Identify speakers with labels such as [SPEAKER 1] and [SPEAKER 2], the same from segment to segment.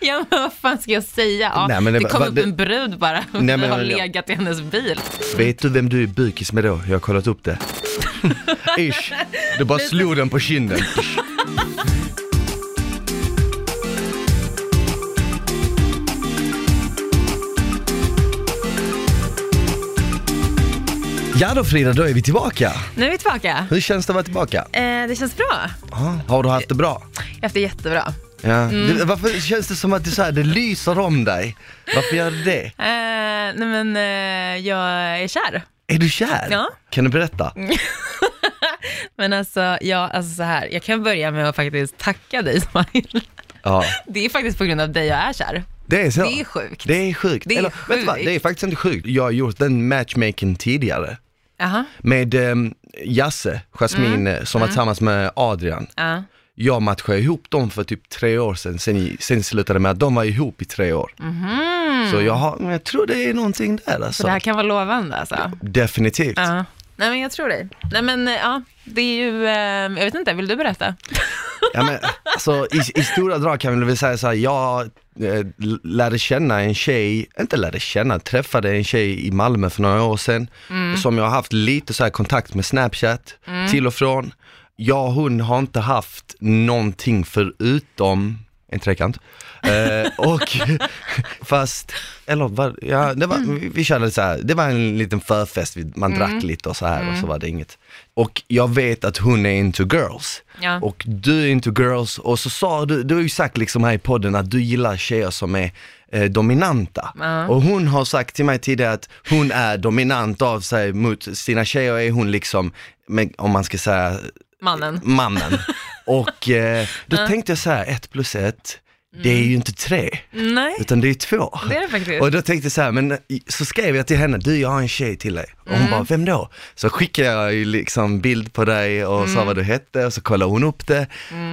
[SPEAKER 1] ja, men vad fan ska jag säga? Ja,
[SPEAKER 2] Nej, men
[SPEAKER 1] det,
[SPEAKER 2] det-
[SPEAKER 1] kom
[SPEAKER 2] va-
[SPEAKER 1] upp
[SPEAKER 2] det-
[SPEAKER 1] en brud bara och
[SPEAKER 2] Nej, men-
[SPEAKER 1] har legat i hennes bil.
[SPEAKER 2] Vet du vem du är bukis med då? Jag har kollat upp det. Ish. Du bara slog den på kinden. Ja då Frida, då är vi tillbaka.
[SPEAKER 1] Nu är vi tillbaka.
[SPEAKER 2] Hur känns det att vara tillbaka?
[SPEAKER 1] Eh, det känns bra.
[SPEAKER 2] Ja, Har du haft det bra? Mm.
[SPEAKER 1] Jag har haft det jättebra.
[SPEAKER 2] Ja. Det, varför känns det som att det, är så här, det lyser om dig? Varför gör det det?
[SPEAKER 1] Eh, nej men eh, jag är kär.
[SPEAKER 2] Är du kär?
[SPEAKER 1] Ja.
[SPEAKER 2] Kan du berätta?
[SPEAKER 1] Men alltså, ja, alltså så här, jag kan börja med att faktiskt tacka dig Smile.
[SPEAKER 2] Ja.
[SPEAKER 1] Det är faktiskt på grund av dig jag är kär.
[SPEAKER 2] Det är så?
[SPEAKER 1] Det är sjukt.
[SPEAKER 2] Det är sjukt.
[SPEAKER 1] Det är
[SPEAKER 2] Eller, Vet du vad?
[SPEAKER 1] sjukt.
[SPEAKER 2] Det är faktiskt inte sjukt. Jag har gjort den matchmaking tidigare
[SPEAKER 1] Jaha,
[SPEAKER 2] med ehm, Jasse, Jasmine,
[SPEAKER 1] Mm.
[SPEAKER 2] eh, som var tillsammans med Adrian.
[SPEAKER 1] ja.
[SPEAKER 2] Jag matchade ihop dem för typ tre år sedan, sen, i- sen slutade det med att de var ihop i tre år. Så jag, har, men jag tror det är någonting där
[SPEAKER 1] Mhm. Så
[SPEAKER 2] alltså.
[SPEAKER 1] det här kan vara lovande alltså.
[SPEAKER 2] Definitivt.
[SPEAKER 1] Ja. Nej men jag tror dig. Nej men eh, ja, det är ju, eh, jag vet inte, vill du berätta?
[SPEAKER 2] Ja, men, alltså, i, I stora drag kan vi väl säga så här, jag eh, l- lärde känna en tjej, inte lärde känna, träffade en tjej i Malmö för några år sedan som jag har haft lite så här kontakt med Snapchat till och från. Jag och hon har inte haft någonting förutom en trekant. Eh, och fast, eller vad, ja, det var, vi- vi körde så här, det var en liten förfest, vi-
[SPEAKER 1] Mm.
[SPEAKER 2] man drack lite och så här och så var det inget. Och jag vet att hon är into girls.
[SPEAKER 1] Ja.
[SPEAKER 2] Och du är into girls och så sa du, du har ju sagt liksom här i podden att du gillar tjejer som är eh, dominanta.
[SPEAKER 1] Ja.
[SPEAKER 2] Och hon har sagt till mig tidigare att hon är dominant av sig mot sina tjejer, är hon liksom, men, om man ska säga
[SPEAKER 1] Mannen.
[SPEAKER 2] mannen. och eh, då tänkte jag så här, ett plus ett, det är ju inte tre,
[SPEAKER 1] Nej,
[SPEAKER 2] utan det är två.
[SPEAKER 1] Mm. det är det faktiskt.
[SPEAKER 2] Och då tänkte jag så här, men så skrev jag till henne, du jag har en tjej till dig. Och
[SPEAKER 1] Mm.
[SPEAKER 2] hon bara, vem då? Så skickade jag ju liksom bild på dig och sa
[SPEAKER 1] Mm.
[SPEAKER 2] vad du hette och så kollade hon upp det.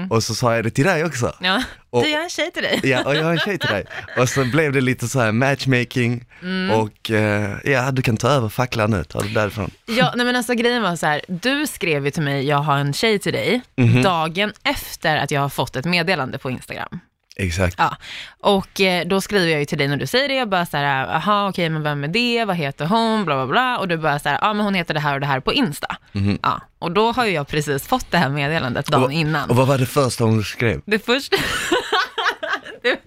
[SPEAKER 2] Och så sa jag det till dig också.
[SPEAKER 1] Ja.
[SPEAKER 2] Och-
[SPEAKER 1] Du, jag är en tjej till dig.
[SPEAKER 2] Ja, och jag har en tjej till dig. Och så blev det lite så här matchmaking
[SPEAKER 1] Mm.
[SPEAKER 2] och eh, ja, du kan ta över facklan nu, ta det därifrån.
[SPEAKER 1] Ja, nej men alltså grejen var så här, du skrev ju till mig, jag har en tjej till dig,
[SPEAKER 2] Mhm.
[SPEAKER 1] dagen efter att jag har fått ett meddelande på Instagram.
[SPEAKER 2] Exakt.
[SPEAKER 1] Ja, och eh, då skriver jag ju till dig när du säger det, jag bara så här, aha okej men vem är det, vad heter hon, bla bla bla, och du bara så här, ja men hon heter det här och det här på Insta. Ja, och då har ju jag precis fått det här meddelandet dagen innan.
[SPEAKER 2] Mhm. Och vad var det första hon skrev?
[SPEAKER 1] Det första, det,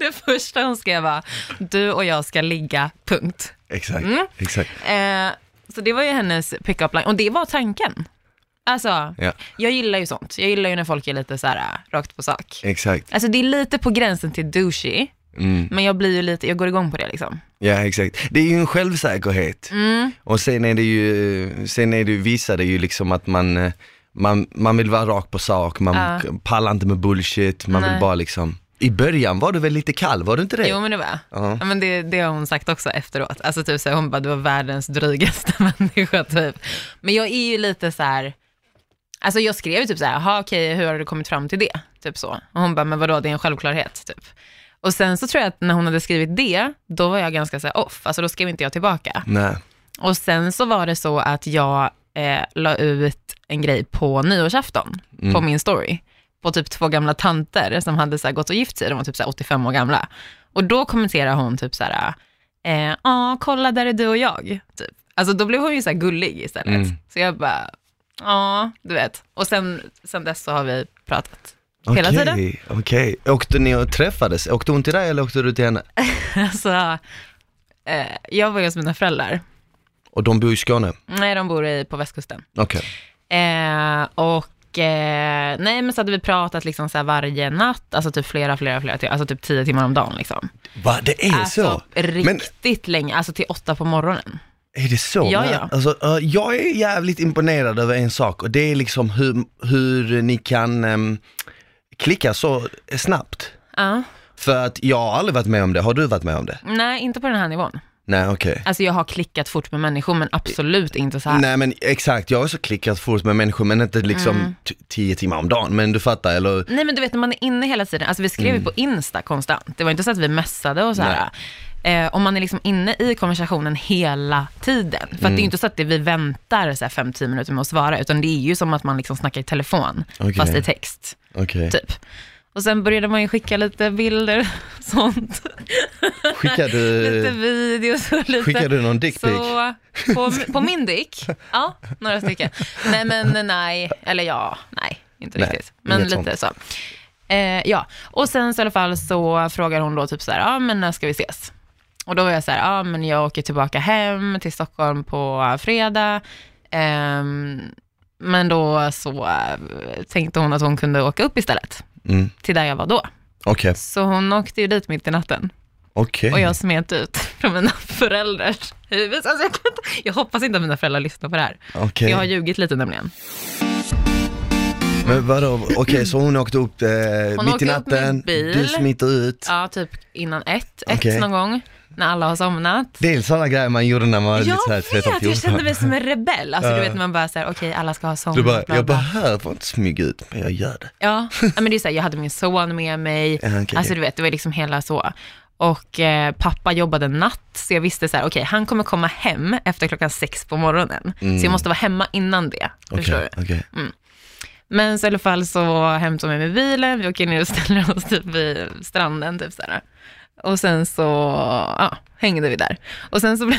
[SPEAKER 1] det första hon skrev var, du och jag ska ligga, punkt.
[SPEAKER 2] Exakt,
[SPEAKER 1] Mm.
[SPEAKER 2] exakt.
[SPEAKER 1] Eh, så det var ju hennes pick-up line, och det var tanken. Alltså,
[SPEAKER 2] Ja.
[SPEAKER 1] jag gillar ju sånt. Jag gillar ju när folk är lite så här äh, rakt på sak.
[SPEAKER 2] Exakt.
[SPEAKER 1] Alltså det är lite på gränsen till douchey, men jag blir ju lite, jag går igång på det liksom.
[SPEAKER 2] Ja exakt, det är ju en självsäkerhet.
[SPEAKER 1] Mm.
[SPEAKER 2] Och sen är det ju, sen är det ju, visar det ju liksom att man, eh, man, man vill vara rak på sak, man
[SPEAKER 1] Ja.
[SPEAKER 2] k- pallar inte med bullshit, man
[SPEAKER 1] Nej.
[SPEAKER 2] vill bara liksom I början var du väl lite kall, var du inte det?
[SPEAKER 1] Jo men det var jag.
[SPEAKER 2] Ja.
[SPEAKER 1] ja. men det, det har hon sagt också efteråt. Alltså typ så här, hon bara, du var världens drygaste människa typ. Men jag är ju lite så här, alltså jag skrev ju typ så här, jaha okej hur har du kommit fram till det? Typ så. Och hon bara, men vadå det är en självklarhet typ. Och sen så tror jag att när hon hade skrivit det, då var jag ganska så här off, alltså då skrev inte jag tillbaka.
[SPEAKER 2] Nej,
[SPEAKER 1] Och sen så var det så att jag eh, la ut en grej på nyårsafton,
[SPEAKER 2] Mm.
[SPEAKER 1] på min story, på typ två gamla tanter som hade så här, gått och gift sig, de var typ så här, 85 år gamla. Och då kommenterade hon typ så här, eh, ja kolla där är du och jag, typ. Alltså då blev hon ju så här gullig istället.
[SPEAKER 2] Mm.
[SPEAKER 1] Så jag bara, ja du vet. Och sen, sen dess så har vi pratat. Hela
[SPEAKER 2] Okej,
[SPEAKER 1] tiden.
[SPEAKER 2] Okej, åkte ni och träffades? Åkte hon till dig eller åkte du till henne?
[SPEAKER 1] Alltså, eh, jag var ju hos mina föräldrar.
[SPEAKER 2] Och de bor i Skåne?
[SPEAKER 1] Nej, de bor i, på västkusten.
[SPEAKER 2] Okej.
[SPEAKER 1] Eh, och eh, nej, men så hade vi pratat liksom så här varje natt, alltså typ flera, flera, flera, timmar, alltså typ tio timmar om dagen liksom.
[SPEAKER 2] Va, det är
[SPEAKER 1] Alltså
[SPEAKER 2] så? Men
[SPEAKER 1] riktigt länge, alltså till åtta på morgonen.
[SPEAKER 2] är det så?
[SPEAKER 1] Ja,
[SPEAKER 2] Nej,
[SPEAKER 1] ja.
[SPEAKER 2] Alltså, eh, jag är jävligt imponerad över en sak och det är liksom hur, hur ni kan ehm, klicka så snabbt.
[SPEAKER 1] Ja.
[SPEAKER 2] För att jag har aldrig varit med om det, har du varit med om det?
[SPEAKER 1] Nej, inte på den här nivån.
[SPEAKER 2] Nej okej.
[SPEAKER 1] Alltså jag har klickat fort med människor, men absolut inte så här.
[SPEAKER 2] Nej men exakt, jag har också klickat fort med människor men inte liksom
[SPEAKER 1] Mm.
[SPEAKER 2] t- tio timmar om dagen, men du fattar eller?
[SPEAKER 1] Nej men du vet när man är inne hela tiden, alltså vi skrev ju på Insta konstant, det var inte så att vi mässade och så här. Eh, om man är liksom inne i konversationen hela tiden. För att det är ju inte så att det, vi väntar så här fem, tio minuter med att svara, utan det är ju som att man liksom snackar i telefon,
[SPEAKER 2] Okej.
[SPEAKER 1] fast i text.
[SPEAKER 2] Okej.
[SPEAKER 1] typ. Och sen började man ju skicka lite bilder och sånt.
[SPEAKER 2] Skickar
[SPEAKER 1] lite
[SPEAKER 2] du,
[SPEAKER 1] videos och lite...
[SPEAKER 2] skickar du någon dickpic?
[SPEAKER 1] Så på, på min dick, ja, några stycken. Nej, men nej, eller ja, nej, inte
[SPEAKER 2] Nej,
[SPEAKER 1] riktigt. Men
[SPEAKER 2] inget
[SPEAKER 1] lite så. Eh, ja, och sen så i alla fall så frågar hon då typ så här, ja men när ska vi ses? Och då var jag så här, ja men jag åker tillbaka hem till Stockholm på fredag. Ehm, men då så eh, tänkte hon att hon kunde åka upp istället,
[SPEAKER 2] Mm.
[SPEAKER 1] till där jag var då.
[SPEAKER 2] Okej,
[SPEAKER 1] Så hon åkte ju dit mitt i natten.
[SPEAKER 2] okej.
[SPEAKER 1] Och jag smet ut från mina föräldrars huvud. Alltså jag, kan inte, jag hoppas inte att mina föräldrar lyssnar på det här.
[SPEAKER 2] okej.
[SPEAKER 1] Jag har ljugit lite nämligen.
[SPEAKER 2] Men vadå, okej så hon åkte upp eh, mitt
[SPEAKER 1] åkte
[SPEAKER 2] i
[SPEAKER 1] upp med
[SPEAKER 2] natten,
[SPEAKER 1] bil.
[SPEAKER 2] du smiter ut.
[SPEAKER 1] Ja, typ innan ett, ett
[SPEAKER 2] Okej.
[SPEAKER 1] någon gång, när alla har somnat.
[SPEAKER 2] Det är sådana grejer man gjorde när man var lite
[SPEAKER 1] Jag
[SPEAKER 2] såhär
[SPEAKER 1] vet,
[SPEAKER 2] 13,
[SPEAKER 1] jag
[SPEAKER 2] 14.
[SPEAKER 1] kände mig som en rebell. Alltså du
[SPEAKER 2] Ja.
[SPEAKER 1] vet man bara såhär, okej alla ska ha somnat.
[SPEAKER 2] Du bara,
[SPEAKER 1] bla,
[SPEAKER 2] jag
[SPEAKER 1] bla.
[SPEAKER 2] behöver inte smyga ut, men jag gör det.
[SPEAKER 1] Ja, ja, men det är såhär, jag hade min son med mig.
[SPEAKER 2] Ja, okej.
[SPEAKER 1] Alltså du vet, det var liksom hela så. Och eh, pappa jobbade natt, så jag visste så här, okej, han kommer komma hem efter klockan sex på morgonen. Så jag måste vara hemma innan det. Förstår du?
[SPEAKER 2] Mm. Okej, okej.
[SPEAKER 1] Men så i alla fall så hämtar hon mig med bilen, vi åker ner och ställer oss typ vid stranden. Typ så här. Och sen så ja, hängde vi där. Och sen så blev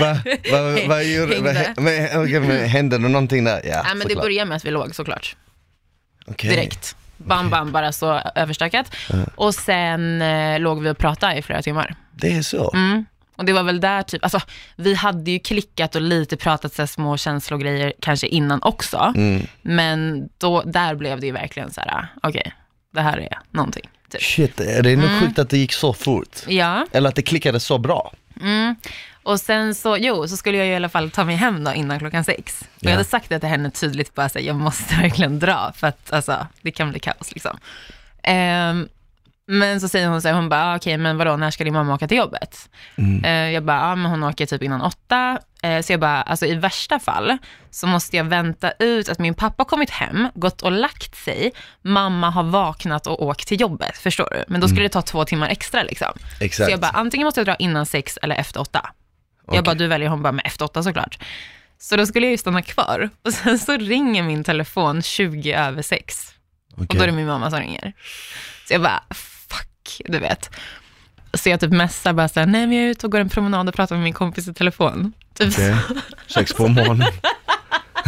[SPEAKER 2] Va, va, va, vad gjorde, va,
[SPEAKER 1] Hängde.
[SPEAKER 2] men, okej, men, hände det någonting där? Ja,
[SPEAKER 1] ja, men det
[SPEAKER 2] såklart.
[SPEAKER 1] började med att vi låg såklart,
[SPEAKER 2] Okej.
[SPEAKER 1] direkt. Bam, bam, bara så överstökat. Och sen eh, låg vi och pratade i flera timmar.
[SPEAKER 2] Det är så?
[SPEAKER 1] Mm. Och det var väl där typ, alltså vi hade ju klickat och lite pratat så här, små känslogrejer kanske innan också.
[SPEAKER 2] Mm.
[SPEAKER 1] Men då, där blev det ju verkligen så här, ah, okej, det här är någonting. Typ.
[SPEAKER 2] Shit, det är nog sjukt att det gick så fort.
[SPEAKER 1] Ja.
[SPEAKER 2] Eller att det klickade så bra.
[SPEAKER 1] Mm. Och sen så, jo, så skulle jag ju i alla fall ta mig hem då innan klockan sex. Och jag
[SPEAKER 2] Ja.
[SPEAKER 1] hade sagt det till henne tydligt, bara så här, jag måste verkligen dra, för att alltså, det kan bli kaos liksom. Ehm, men så säger hon så här, hon bara, ah, okej, men vadå, när ska din mamma åka till jobbet?
[SPEAKER 2] Mm.
[SPEAKER 1] Eh, jag bara, ah, men hon åker typ innan åtta. Eh, så jag bara, alltså i värsta fall så måste jag vänta ut att min pappa kommit hem, gått och lagt sig, mamma har vaknat och åkt till jobbet, förstår du? Men då skulle det ta två timmar extra liksom.
[SPEAKER 2] Mm. Exakt.
[SPEAKER 1] Så jag bara, antingen måste jag dra innan sex eller efter åtta.
[SPEAKER 2] Okej.
[SPEAKER 1] Jag bara, du väljer. Hon bara, men efter åtta såklart. Så då skulle jag ju stanna kvar. Och sen så ringer min telefon 20 över sex. Och
[SPEAKER 2] Okej.
[SPEAKER 1] då är det min mamma som ringer. Så jag bara, fuck, du vet. Så jag typ messar bara såhär, nej men jag är ute och går en promenad och pratar med min kompis i telefon. Typ så.
[SPEAKER 2] Okej. Sex på morgonen.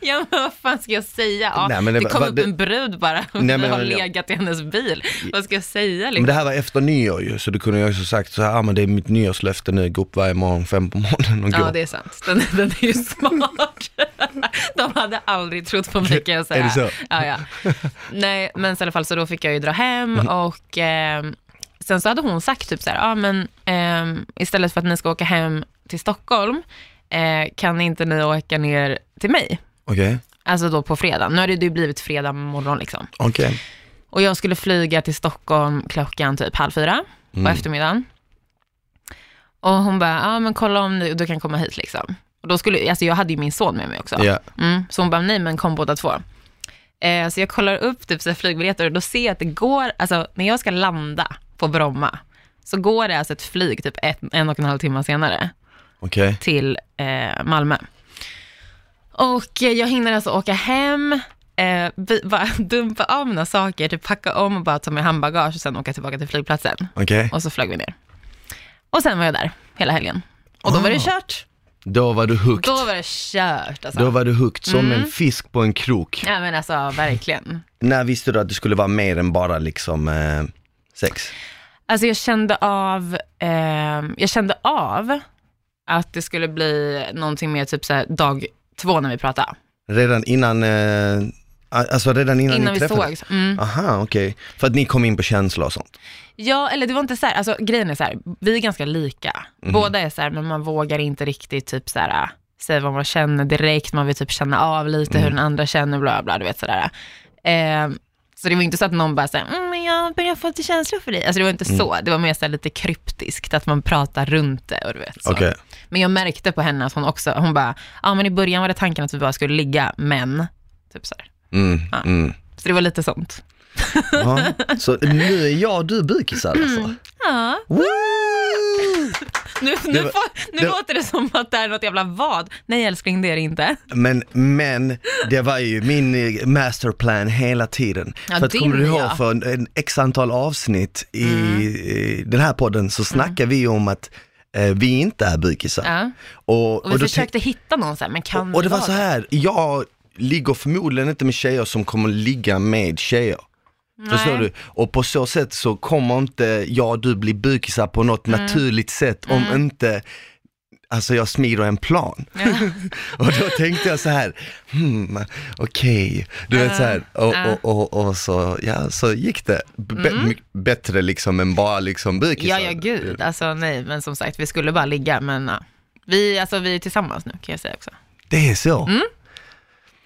[SPEAKER 1] Ja men vad fan ska jag säga? Ja,
[SPEAKER 2] Nej, men
[SPEAKER 1] det,
[SPEAKER 2] det-
[SPEAKER 1] kom
[SPEAKER 2] va-
[SPEAKER 1] upp
[SPEAKER 2] det-
[SPEAKER 1] en brud bara, och
[SPEAKER 2] Nej, men-
[SPEAKER 1] har legat i hennes bil. Vad ska jag säga
[SPEAKER 2] Men
[SPEAKER 1] liksom?
[SPEAKER 2] det här var efter nyår ju, så du kunde ju också sagt så här, ah, men det är mitt nyårslöfte nu, gå upp varje morgon fem på morgonen och gå.
[SPEAKER 1] Ja det är sant, den, den är ju smart. De hade aldrig trott på mig kan jag säga.
[SPEAKER 2] Är det så?
[SPEAKER 1] Ja, ja. Nej men så i alla fall så då fick jag ju dra hem
[SPEAKER 2] Mhm.
[SPEAKER 1] och ehm, sen så hade hon sagt typ så här, ja men ehm, istället för att ni ska åka hem till Stockholm eh, kan inte ni åka ner till mig?
[SPEAKER 2] Okej,
[SPEAKER 1] Alltså då på fredag. Nu har det ju blivit fredag morgon liksom.
[SPEAKER 2] okej.
[SPEAKER 1] Och jag skulle flyga till Stockholm klockan typ halv fyra på
[SPEAKER 2] Mm.
[SPEAKER 1] eftermiddagen. Och hon bara, ja ah, men kolla om du, du kan komma hit liksom. Och då skulle, alltså jag hade ju min son med mig också.
[SPEAKER 2] Ja,
[SPEAKER 1] Mm, så hon bara, nej men kom båda två. Eh, så jag kollar upp typ så här flygbiljetter och då ser jag att det går, alltså när jag ska landa på Bromma, så går det alltså ett flyg typ ett, en och en halv timme senare
[SPEAKER 2] okej.
[SPEAKER 1] till eh, Malmö. Och eh, jag hinner alltså åka hem, eh, bi- bara dumpa av mina saker, typ packa om och bara ta med handbagage och sen åka tillbaka till flygplatsen.
[SPEAKER 2] Okej,
[SPEAKER 1] Och så flög vi ner. Och sen var jag där hela helgen. Och då var det
[SPEAKER 2] Ah.
[SPEAKER 1] kört.
[SPEAKER 2] då var du hooked.
[SPEAKER 1] Då var det kört alltså.
[SPEAKER 2] Då var du hooked, som en fisk på en krok.
[SPEAKER 1] Ja men alltså verkligen.
[SPEAKER 2] När visste du att det skulle vara mer än bara liksom eh, sex?
[SPEAKER 1] Alltså jag kände av, ehm, jag kände av att det skulle bli någonting mer typ såhär dag två när vi pratade.
[SPEAKER 2] Redan innan, eh, alltså redan innan,
[SPEAKER 1] Innan
[SPEAKER 2] ni
[SPEAKER 1] vi
[SPEAKER 2] träffades?
[SPEAKER 1] sågs. Mm.
[SPEAKER 2] Aha, okej. För att ni kom in på känslor och sånt.
[SPEAKER 1] Ja, eller det var inte så här, alltså grejen är så här, vi är ganska lika. Båda är så här, men man vågar inte riktigt typ så här, äh, säga vad man känner direkt, man vill typ känna av lite hur den andra känner, bla bla, du vet sådär. Eh, så det var inte så att någon bara såhär, mm, men jag börjar få lite känslor för dig. Alltså det var inte så, det var mer så här lite kryptiskt, att man pratar runt det och du vet så.
[SPEAKER 2] Okej.
[SPEAKER 1] Men jag märkte på henne att hon också, hon bara, ja men i början var det tanken att vi bara skulle ligga, men, typ så här.
[SPEAKER 2] Mm,
[SPEAKER 1] Ja.
[SPEAKER 2] mm.
[SPEAKER 1] Så det var lite sånt. Mm.
[SPEAKER 2] Ja. Så nu är jag och du bukisar alltså.
[SPEAKER 1] Ja.
[SPEAKER 2] Woo!
[SPEAKER 1] Nu,
[SPEAKER 2] Det
[SPEAKER 1] nu,
[SPEAKER 2] var-
[SPEAKER 1] får, nu
[SPEAKER 2] det-
[SPEAKER 1] låter det som att det är något jävla vad. Nej älskling, det är det inte.
[SPEAKER 2] Men, men det var ju min eh, masterplan hela tiden.
[SPEAKER 1] Ja,
[SPEAKER 2] för att
[SPEAKER 1] din,
[SPEAKER 2] kommer du ihåg
[SPEAKER 1] ja.
[SPEAKER 2] för en, en x antal avsnitt i,
[SPEAKER 1] Mm.
[SPEAKER 2] i den här podden så snackar vi om att eh, vi inte är bukisar.
[SPEAKER 1] Ja.
[SPEAKER 2] Och,
[SPEAKER 1] Och vi
[SPEAKER 2] då tänk-
[SPEAKER 1] försökte hitta någon så här, men kan
[SPEAKER 2] och det var
[SPEAKER 1] vara
[SPEAKER 2] så här, jag ligger förmodligen inte med tjejer som kommer ligga med tjejer. Förstår du? Och på så sätt så kommer inte jag och du bli bukisar på något
[SPEAKER 1] Mm.
[SPEAKER 2] naturligt sätt om inte Alltså jag smider en plan. och då tänkte jag så här, hmm, okej, du vet så här, och, och, och, och så, ja, så gick det. B- mycket Bättre liksom än bara liksom bukisar.
[SPEAKER 1] Mm. Ja, ja gud, alltså nej, men som sagt, vi skulle bara ligga, men ja. vi, alltså, vi är tillsammans nu kan jag säga också.
[SPEAKER 2] Det är så?
[SPEAKER 1] Mm.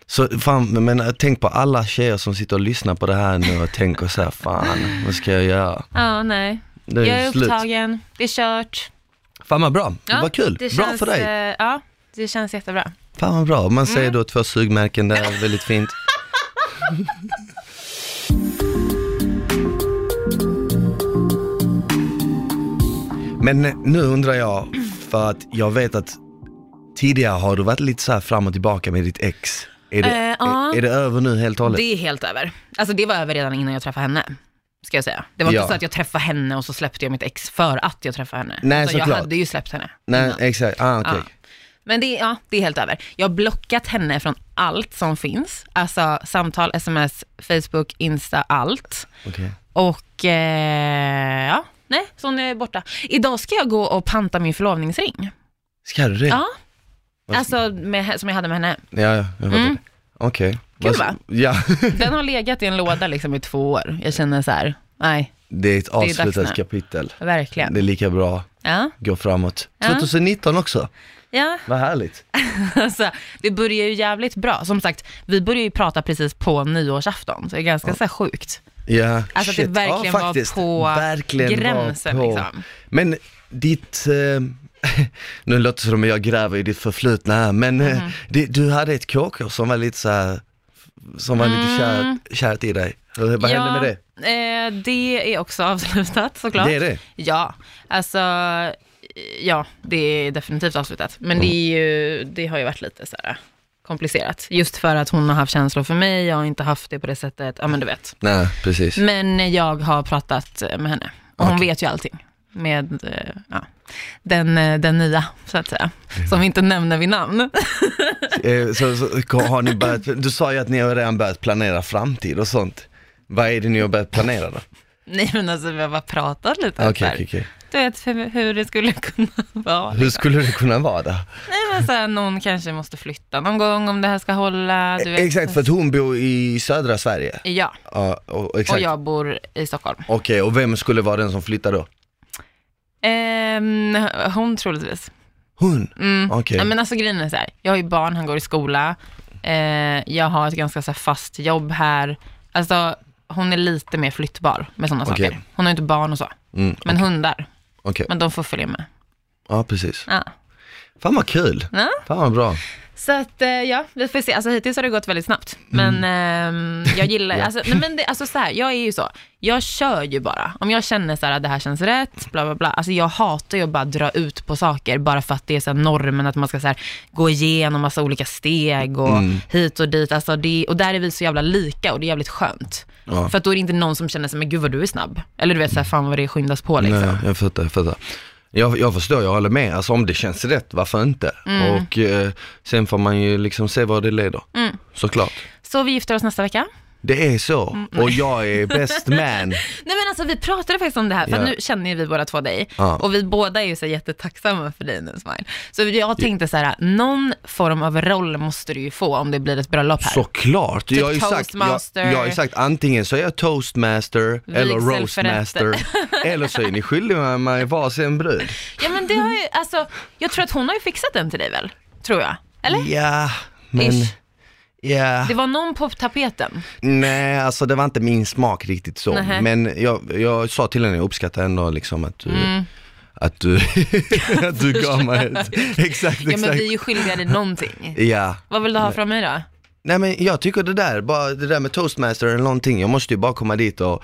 [SPEAKER 2] Så fan, men äh, tänk på alla tjejer som sitter och lyssnar på det här nu och tänker så här, fan, vad ska jag göra?
[SPEAKER 1] Ja, nej.
[SPEAKER 2] Det är
[SPEAKER 1] jag är
[SPEAKER 2] slut.
[SPEAKER 1] upptagen, det är kört.
[SPEAKER 2] Fan vad bra,
[SPEAKER 1] Ja,
[SPEAKER 2] vad kul,
[SPEAKER 1] det
[SPEAKER 2] bra
[SPEAKER 1] känns,
[SPEAKER 2] för dig.
[SPEAKER 1] eh, Ja, det känns jättebra.
[SPEAKER 2] Fan vad bra, man
[SPEAKER 1] Mm.
[SPEAKER 2] säger då två sugmärken där, väldigt fint. Men nu undrar jag, för att jag vet att tidigare har du varit lite så här fram och tillbaka med ditt ex. Är det,
[SPEAKER 1] Eh, ja.
[SPEAKER 2] är, är det över nu helt och hållet?
[SPEAKER 1] Det är helt över. Alltså det var över redan innan jag träffade henne. Ska jag säga. Det var
[SPEAKER 2] Ja.
[SPEAKER 1] inte så att jag träffade henne och så släppte jag mitt ex för att jag träffade henne.
[SPEAKER 2] Nej,
[SPEAKER 1] Utan jag
[SPEAKER 2] såklart.
[SPEAKER 1] hade ju släppt henne.
[SPEAKER 2] Nej,
[SPEAKER 1] innan.
[SPEAKER 2] exakt. Ah, okej.
[SPEAKER 1] Ja. Men det, är- ja, det är helt över. Jag har blockat henne från allt som finns. Alltså samtal, sms, Facebook, Insta, allt.
[SPEAKER 2] Okej.
[SPEAKER 1] Och eh, ja, nej, så hon är borta. Idag ska jag gå och panta min förlovningsring.
[SPEAKER 2] Ska du det?
[SPEAKER 1] Ja,
[SPEAKER 2] Vad-
[SPEAKER 1] alltså med, som jag hade med henne.
[SPEAKER 2] Ja, ja, jag fattar.
[SPEAKER 1] Mm.
[SPEAKER 2] Okej.
[SPEAKER 1] Kul,
[SPEAKER 2] Vad-
[SPEAKER 1] va?
[SPEAKER 2] Ja,
[SPEAKER 1] Den har legat i en låda liksom i två år. Jag känner så här, nej,
[SPEAKER 2] det är ett
[SPEAKER 1] dags
[SPEAKER 2] avslutat
[SPEAKER 1] nu.
[SPEAKER 2] kapitel.
[SPEAKER 1] verkligen.
[SPEAKER 2] Det är lika bra,
[SPEAKER 1] Ja,
[SPEAKER 2] gå framåt.
[SPEAKER 1] Ja.
[SPEAKER 2] 2019 också,
[SPEAKER 1] ja.
[SPEAKER 2] vad härligt.
[SPEAKER 1] Alltså, det börjar ju jävligt bra. Som sagt, vi började ju prata precis på nyårsafton, så det är ganska så här sjukt.
[SPEAKER 2] Ja,
[SPEAKER 1] Alltså att det
[SPEAKER 2] shit.
[SPEAKER 1] verkligen
[SPEAKER 2] ja,
[SPEAKER 1] var
[SPEAKER 2] faktiskt.
[SPEAKER 1] på
[SPEAKER 2] verkligen
[SPEAKER 1] gränsen,
[SPEAKER 2] var på.
[SPEAKER 1] liksom.
[SPEAKER 2] Men ditt, eh, nu låter det som att jag gräver i ditt förflutna här, men
[SPEAKER 1] Mm-hmm.
[SPEAKER 2] eh, det, du hade ett KK som var lite så här, som var lite
[SPEAKER 1] Mm.
[SPEAKER 2] kärt, kärt i dig. Vad hände med det?
[SPEAKER 1] Eh, det är också avslutat såklart.
[SPEAKER 2] Det är det?
[SPEAKER 1] Ja, alltså eh, ja, det är definitivt avslutat. Men det, är ju, det har ju varit lite så här komplicerat. Just för att hon har haft känslor för mig, jag har inte haft det på det sättet, ja men du vet.
[SPEAKER 2] Nej, precis.
[SPEAKER 1] Men jag har pratat eh, med henne och hon
[SPEAKER 2] Okej.
[SPEAKER 1] vet ju allting med eh, ja, den, eh, den nya, så att säga,
[SPEAKER 2] Mm.
[SPEAKER 1] som vi inte nämner vid namn.
[SPEAKER 2] Eh, Så, så har ni börjat, du sa ju att ni har redan börjat planera framtid och sånt. Vad är det ni har börjat planera då?
[SPEAKER 1] Nej men alltså vi har bara pratat lite
[SPEAKER 2] Okej,
[SPEAKER 1] om så här.
[SPEAKER 2] okej, okej.
[SPEAKER 1] Du vet hur, hur det skulle kunna vara.
[SPEAKER 2] Hur skulle det kunna vara då?
[SPEAKER 1] Nej men så här, någon kanske måste flytta någon gång om det här ska hålla. Du vet.
[SPEAKER 2] Exakt, för att hon bor i södra Sverige.
[SPEAKER 1] Ja,
[SPEAKER 2] Ja, och, exakt.
[SPEAKER 1] och jag bor i Stockholm.
[SPEAKER 2] Okej, och vem skulle vara den som flyttar då?
[SPEAKER 1] Ehm, hon troligtvis.
[SPEAKER 2] Hon?
[SPEAKER 1] Mm.
[SPEAKER 2] Okej.
[SPEAKER 1] Nej, men alltså grejen är så här, jag har ju barn, han går i skola, eh, jag har ett ganska så här, fast jobb här. Alltså hon är lite mer flyttbar med sådana
[SPEAKER 2] Okej.
[SPEAKER 1] saker. Hon har ju inte barn och så,
[SPEAKER 2] Mm,
[SPEAKER 1] men hundar,
[SPEAKER 2] Okej,
[SPEAKER 1] men de får följa med.
[SPEAKER 2] ja precis.
[SPEAKER 1] Ja.
[SPEAKER 2] Fan vad kul,
[SPEAKER 1] Ja.
[SPEAKER 2] fan vad bra.
[SPEAKER 1] Så att eh, ja, vi får se. Alltså hittills har det gått väldigt snabbt. Men
[SPEAKER 2] Mm.
[SPEAKER 1] ehm, jag gillar, alltså, nej, men det, alltså så här, jag är ju så, jag kör ju bara. Om jag känner så här att det här känns rätt, bla bla bla. Alltså jag hatar ju att bara dra ut på saker bara för att det är så här normen att man ska så här, gå igenom massa olika steg och
[SPEAKER 2] Mm.
[SPEAKER 1] hit och dit. Alltså det, och där är vi så jävla lika och det är jävligt skönt.
[SPEAKER 2] Ja.
[SPEAKER 1] För att då är det inte någon som känner sig, men gud vad du är snabb. Eller du vet så här, fan vad det skyndas på liksom.
[SPEAKER 2] Nej, jag fattar, jag fattar. Jag, jag förstår, jag håller med. Alltså om det känns rätt, varför inte?
[SPEAKER 1] Mm.
[SPEAKER 2] Och eh, sen får man ju liksom se vad det leder.
[SPEAKER 1] Mm.
[SPEAKER 2] Såklart.
[SPEAKER 1] Så vi gifter oss nästa vecka.
[SPEAKER 2] Det är så,
[SPEAKER 1] Mm.
[SPEAKER 2] och jag är best man.
[SPEAKER 1] Nej men alltså vi pratade faktiskt om det här, för
[SPEAKER 2] Ja.
[SPEAKER 1] nu känner ju vi båda två dig.
[SPEAKER 2] Ja.
[SPEAKER 1] Och vi båda är ju så här jättetacksamma för dig nu Smile. Så jag tänkte så här, någon form av roll måste du ju få om det blir ett bröllop här.
[SPEAKER 2] Såklart, jag har ju sagt, jag,
[SPEAKER 1] toastmaster.
[SPEAKER 2] jag har ju sagt antingen så är jag toastmaster eller
[SPEAKER 1] Vigselförrättare.
[SPEAKER 2] roastmaster eller så är ni skyldiga mig varsin brud.
[SPEAKER 1] Ja men det har ju, alltså, jag tror att hon har ju fixat den till dig väl? Tror jag. Eller?
[SPEAKER 2] Ja, men
[SPEAKER 1] Ish.
[SPEAKER 2] ja,
[SPEAKER 1] Det var någon på tapeten.
[SPEAKER 2] nej alltså det var inte min smak riktigt så
[SPEAKER 1] Nähä.
[SPEAKER 2] men jag, jag sa till henne, jag uppskattar ändå liksom att du
[SPEAKER 1] Mm.
[SPEAKER 2] Att du, att du gav mig ett, exakt,
[SPEAKER 1] Ja men
[SPEAKER 2] exakt.
[SPEAKER 1] vi är ju skyldiga dig någonting.
[SPEAKER 2] Ja,
[SPEAKER 1] Vad vill du ha från mig då?
[SPEAKER 2] nej men jag tycker det där, bara det där med toastmaster eller någonting, jag måste ju bara komma dit och,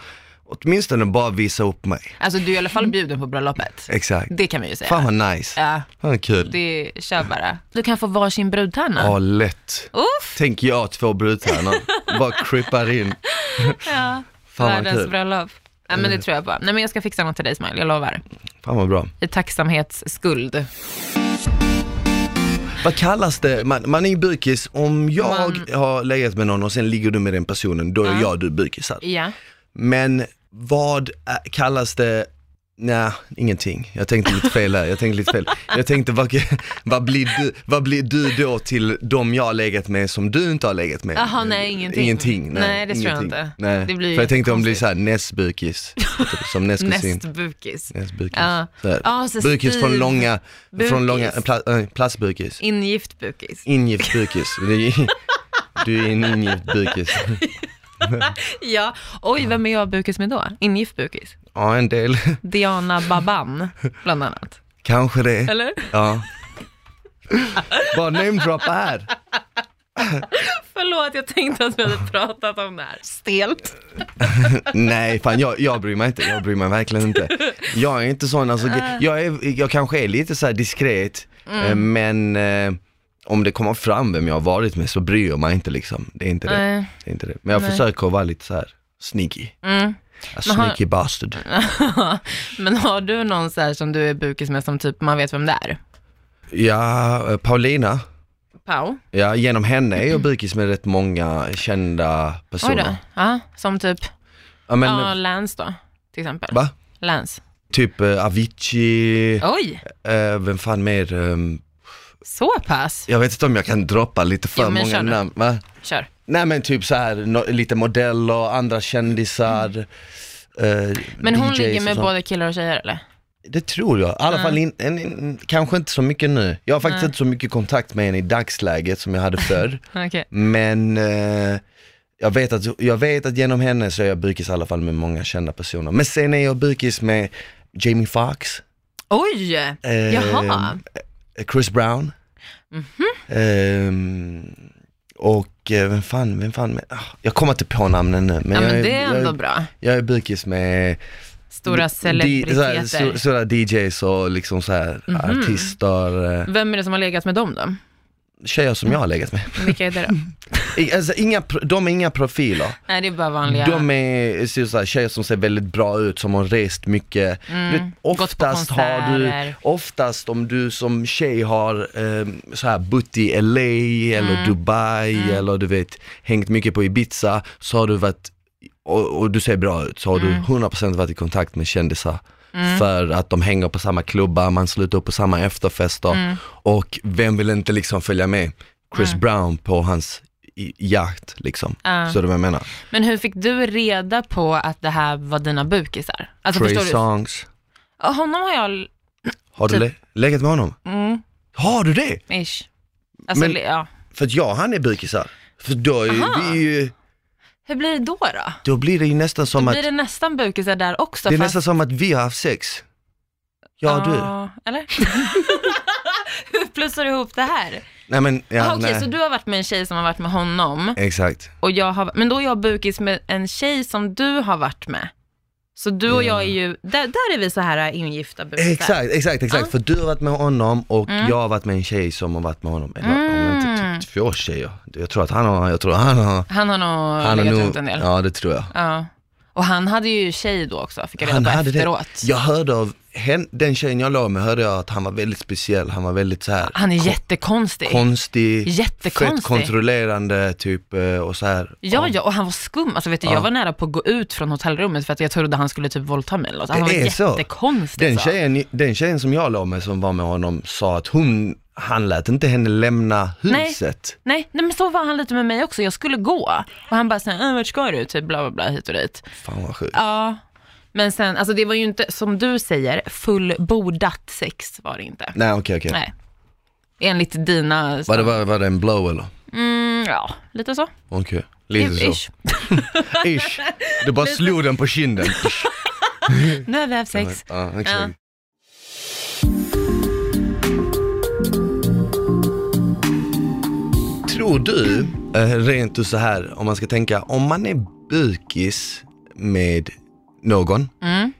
[SPEAKER 2] åtminstone bara visa upp mig.
[SPEAKER 1] Alltså du är i alla fall bjuden på bröllopet.
[SPEAKER 2] Exakt.
[SPEAKER 1] Det kan man ju säga.
[SPEAKER 2] Fan vad nice.
[SPEAKER 1] Ja,
[SPEAKER 2] Fan vad kul.
[SPEAKER 1] det kör bara. Du kan få varsin brudtärna.
[SPEAKER 2] Ja, lätt.
[SPEAKER 1] Uff,
[SPEAKER 2] Tänk jag två brudtärnor, bara krypar in.
[SPEAKER 1] ja.
[SPEAKER 2] Fan vad
[SPEAKER 1] Världens
[SPEAKER 2] kul. Mm.
[SPEAKER 1] bröllop. Nej men det tror jag på. Nej men jag ska fixa något till dig Smile, jag lovar.
[SPEAKER 2] Fan vad bra.
[SPEAKER 1] I tacksamhetsskuld.
[SPEAKER 2] Vad kallas det? Man, man är ju bykis, om jag
[SPEAKER 1] Man-
[SPEAKER 2] har legat med någon och sen ligger du med den personen, då är
[SPEAKER 1] Ja.
[SPEAKER 2] jag och du bykisar.
[SPEAKER 1] Ja.
[SPEAKER 2] Men vad ä- kallas det? Nej, ingenting. Jag tänkte lite fel här. Jag tänkte lite fel. Jag tänkte, vad, vad, blir du, vad blir du då till de jag har legat med som du inte har legat med?
[SPEAKER 1] Jaha, nej, ingenting.
[SPEAKER 2] Ingenting, nej.
[SPEAKER 1] Nej, det tror jag
[SPEAKER 2] ingenting.
[SPEAKER 1] inte.
[SPEAKER 2] Nej.
[SPEAKER 1] Det blir ju
[SPEAKER 2] För jag tänkte om det blir
[SPEAKER 1] konstigt.
[SPEAKER 2] såhär näsbykis, typ, som nästkusin.
[SPEAKER 1] Nästbukis.
[SPEAKER 2] Näsbukis.
[SPEAKER 1] Ja.
[SPEAKER 2] Så här.
[SPEAKER 1] Ja, så
[SPEAKER 2] bukis från
[SPEAKER 1] stiv-
[SPEAKER 2] långa,
[SPEAKER 1] Bukis.
[SPEAKER 2] från långa, pla, äh, plastbukis.
[SPEAKER 1] Ingift bukis.
[SPEAKER 2] Ingift bukis. Det är- Du är en ingift bukis.
[SPEAKER 1] Ja. Oj, vem är jag bukis med då? Ingift bukis.
[SPEAKER 2] Ja, en del.
[SPEAKER 1] Diana Baban, bland annat.
[SPEAKER 2] Kanske det.
[SPEAKER 1] Eller?
[SPEAKER 2] Ja. Bara namedroppa här.
[SPEAKER 1] Förlåt, jag tänkte att vi hade pratat om det här. Stelt.
[SPEAKER 2] Nej, fan jag, jag bryr mig inte. Jag bryr mig verkligen inte. Jag är inte sån, alltså, ge- jag, är, jag kanske är lite så här diskret, eh,
[SPEAKER 1] Mm.
[SPEAKER 2] men eh, om det kommer fram vem jag har varit med så bryr jag mig inte liksom. Det är inte det.
[SPEAKER 1] Nej.
[SPEAKER 2] det, är inte det. Men jag
[SPEAKER 1] Nej.
[SPEAKER 2] försöker vara lite så här sneaky.
[SPEAKER 1] Mm.
[SPEAKER 2] A
[SPEAKER 1] Men har-
[SPEAKER 2] sneaky bastard.
[SPEAKER 1] Men har du någon så här som du är bukis med som typ man vet vem det är?
[SPEAKER 2] Ja, eh, Paulina.
[SPEAKER 1] Pau?
[SPEAKER 2] Ja, genom henne är jag bukis med rätt många kända
[SPEAKER 1] Oj
[SPEAKER 2] personer.
[SPEAKER 1] då. Ja, som typ,
[SPEAKER 2] Ja, men,
[SPEAKER 1] ja, Lance då, till exempel.
[SPEAKER 2] va?
[SPEAKER 1] Lance.
[SPEAKER 2] Typ eh, Avicii,
[SPEAKER 1] Oj,
[SPEAKER 2] Eh, vem fan mer? ehm,
[SPEAKER 1] så pass.
[SPEAKER 2] jag vet inte om jag kan droppa lite för
[SPEAKER 1] Jo, men kör
[SPEAKER 2] många
[SPEAKER 1] nu.
[SPEAKER 2] namn. Va?
[SPEAKER 1] Kör.
[SPEAKER 2] Nej men typ så här, no, lite modeller, andra kändisar. eh,
[SPEAKER 1] Mm. Men hon
[SPEAKER 2] DJs
[SPEAKER 1] ligger med
[SPEAKER 2] och sånt.
[SPEAKER 1] både killar och tjejer eller?
[SPEAKER 2] Det tror jag, i alla fall in, en- en- kanske inte så mycket nu. Jag har faktiskt
[SPEAKER 1] Nej.
[SPEAKER 2] inte så mycket kontakt med henne i dagsläget som jag hade förr.
[SPEAKER 1] Okej.
[SPEAKER 2] men eh, jag, vet att, jag vet att genom henne så är jag bykis i alla fall med många kända personer. Men sen är jag bykis med Jamie Foxx,
[SPEAKER 1] Oj!
[SPEAKER 2] eh,
[SPEAKER 1] Jaha. Mhm.
[SPEAKER 2] Chris Brown. Ehm, och eh, vem fan, vem fan, med- ah, jag kommer inte på namnen nu. Men,
[SPEAKER 1] ja,
[SPEAKER 2] jag,
[SPEAKER 1] men
[SPEAKER 2] är,
[SPEAKER 1] det är
[SPEAKER 2] jag,
[SPEAKER 1] ändå
[SPEAKER 2] är,
[SPEAKER 1] bra.
[SPEAKER 2] jag är bukis med
[SPEAKER 1] Stora
[SPEAKER 2] sådär, så,
[SPEAKER 1] celebriteter. Mhm.
[SPEAKER 2] sådär DJs och liksom såhär artister, eh,
[SPEAKER 1] Vem är det som har legat med dem då?
[SPEAKER 2] tjejer som jag har legat med.
[SPEAKER 1] Vilka är det då?
[SPEAKER 2] I- Alltså, inga, pro- de är inga profiler.
[SPEAKER 1] Nej, det är bara vanliga.
[SPEAKER 2] De är så- såhär, tjejer som ser väldigt bra ut, som har rest mycket.
[SPEAKER 1] Mm,
[SPEAKER 2] Du vet,
[SPEAKER 1] gått på
[SPEAKER 2] Oftast har du,
[SPEAKER 1] konserter.
[SPEAKER 2] oftast om du som tjej har eh, så här bott i LA eller
[SPEAKER 1] Mm.
[SPEAKER 2] Dubai eller du vet hängt mycket på Ibiza så har du varit, och, och du ser bra ut, så har
[SPEAKER 1] Mm.
[SPEAKER 2] du 100% varit i kontakt med kändisar. För att de hänger på samma klubbar, man slutar upp på samma efterfester
[SPEAKER 1] Mm.
[SPEAKER 2] och vem vill inte liksom följa med Chris Brown på hans i- jakt liksom.
[SPEAKER 1] Ja.
[SPEAKER 2] Så du vad jag menar?
[SPEAKER 1] Men hur fick du reda på att det här var dina bukisar? Alltså
[SPEAKER 2] Trey
[SPEAKER 1] förstår
[SPEAKER 2] Songs.
[SPEAKER 1] du? Honom har jag,
[SPEAKER 2] Har du le- legat med honom?
[SPEAKER 1] Typ. mm,
[SPEAKER 2] Har du det?
[SPEAKER 1] ish. Alltså,
[SPEAKER 2] Men-
[SPEAKER 1] le- ja.
[SPEAKER 2] För att jag och han är bukisar. För då, är
[SPEAKER 1] Aha.
[SPEAKER 2] vi ju,
[SPEAKER 1] Hur blir det då då?
[SPEAKER 2] då blir det ju nästan som att,
[SPEAKER 1] Blir det nästan bukisar där också?
[SPEAKER 2] det är
[SPEAKER 1] fast- Ah.
[SPEAKER 2] nästan som att vi har haft sex. Ja du.
[SPEAKER 1] Ja, Eller? Hur plussar du ihop det här?
[SPEAKER 2] Nej men, ja,
[SPEAKER 1] Aha, Okej,
[SPEAKER 2] nej.
[SPEAKER 1] så du har varit med en tjej som har varit med honom,
[SPEAKER 2] Exakt.
[SPEAKER 1] och jag har, men då är jag bukis med en tjej som du har varit med. Så du och jag är ju, där, där är vi så här ingifta bukisar.
[SPEAKER 2] Exakt, exakt, exakt.
[SPEAKER 1] Ja.
[SPEAKER 2] För du har varit med honom och jag har varit med en tjej som har varit med honom. Eller om jag inte
[SPEAKER 1] Mm.
[SPEAKER 2] typ två tjejer. Jag tror att han har, jag tror att han har,
[SPEAKER 1] Han har nog
[SPEAKER 2] han har
[SPEAKER 1] legat
[SPEAKER 2] nog-
[SPEAKER 1] runt en del. Ja.
[SPEAKER 2] ja det tror jag.
[SPEAKER 1] Och han hade ju tjej då också, fick jag
[SPEAKER 2] Han
[SPEAKER 1] reda på
[SPEAKER 2] hade det.
[SPEAKER 1] efteråt.
[SPEAKER 2] Jag hörde av hen, den tjejen jag låg med, hörde jag att han var väldigt speciell, han var väldigt så här
[SPEAKER 1] Han är jättekonstig.
[SPEAKER 2] konstig,
[SPEAKER 1] Jättekonstig.
[SPEAKER 2] fett kontrollerande typ eh, och så här.
[SPEAKER 1] Ja, ja, och han var skum. Alltså, vet du, Jag
[SPEAKER 2] Ja.
[SPEAKER 1] var nära på att gå ut från hotellrummet för att jag trodde han skulle typ våldta mig eller något. Han
[SPEAKER 2] Det
[SPEAKER 1] var
[SPEAKER 2] är så.
[SPEAKER 1] jättekonstig.
[SPEAKER 2] Den
[SPEAKER 1] så.
[SPEAKER 2] tjejen, den tjejen som jag låg med som var med honom sa att hon, han lät inte henne lämna
[SPEAKER 1] Nej.
[SPEAKER 2] huset.
[SPEAKER 1] Nej, nej, men så var han lite med mig också. Jag skulle gå och han bara såhär, "Äh, vart ska du? Typ bla bla bla hit och dit.
[SPEAKER 2] Fan vad sjukt.
[SPEAKER 1] Ja, men sen, alltså det var ju inte, som du säger, fullbordat sex var det inte.
[SPEAKER 2] Nej okej okej.
[SPEAKER 1] Nej. Enligt dina...
[SPEAKER 2] Var det, var, var det en blow eller?
[SPEAKER 1] Mm, ja, lite så.
[SPEAKER 2] Okej, lite så.
[SPEAKER 1] Ish.
[SPEAKER 2] Ish. Du bara slog den på kinden.
[SPEAKER 1] Nu har vi haft sex.
[SPEAKER 2] Ja, exakt. Tror du, eh, rent ut så här, om man ska tänka, om man är bukis med någon,
[SPEAKER 1] Mm.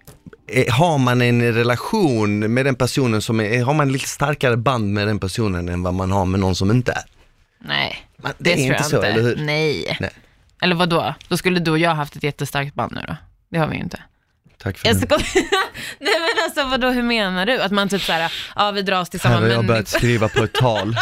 [SPEAKER 2] Eh, har man en relation med den personen som är, har man lite starkare band med den personen än vad man har med någon som inte är.
[SPEAKER 1] Nej,
[SPEAKER 2] Men det
[SPEAKER 1] det,
[SPEAKER 2] är
[SPEAKER 1] tror
[SPEAKER 2] inte
[SPEAKER 1] jag
[SPEAKER 2] så,
[SPEAKER 1] inte. Mm.
[SPEAKER 2] eller hur?
[SPEAKER 1] Nej.
[SPEAKER 2] Nej.
[SPEAKER 1] Eller vad då? Då skulle du och jag haft ett jättestarkt band nu då? Det har vi ju
[SPEAKER 2] Mm.
[SPEAKER 1] inte.
[SPEAKER 2] Tack för
[SPEAKER 1] Jag
[SPEAKER 2] det.
[SPEAKER 1] skojar. Nej men alltså vadå, hur menar du? Att man typ såhär, ja vi dras
[SPEAKER 2] Här
[SPEAKER 1] tillsammans
[SPEAKER 2] har jag
[SPEAKER 1] men...
[SPEAKER 2] börjat skriva på ett tal.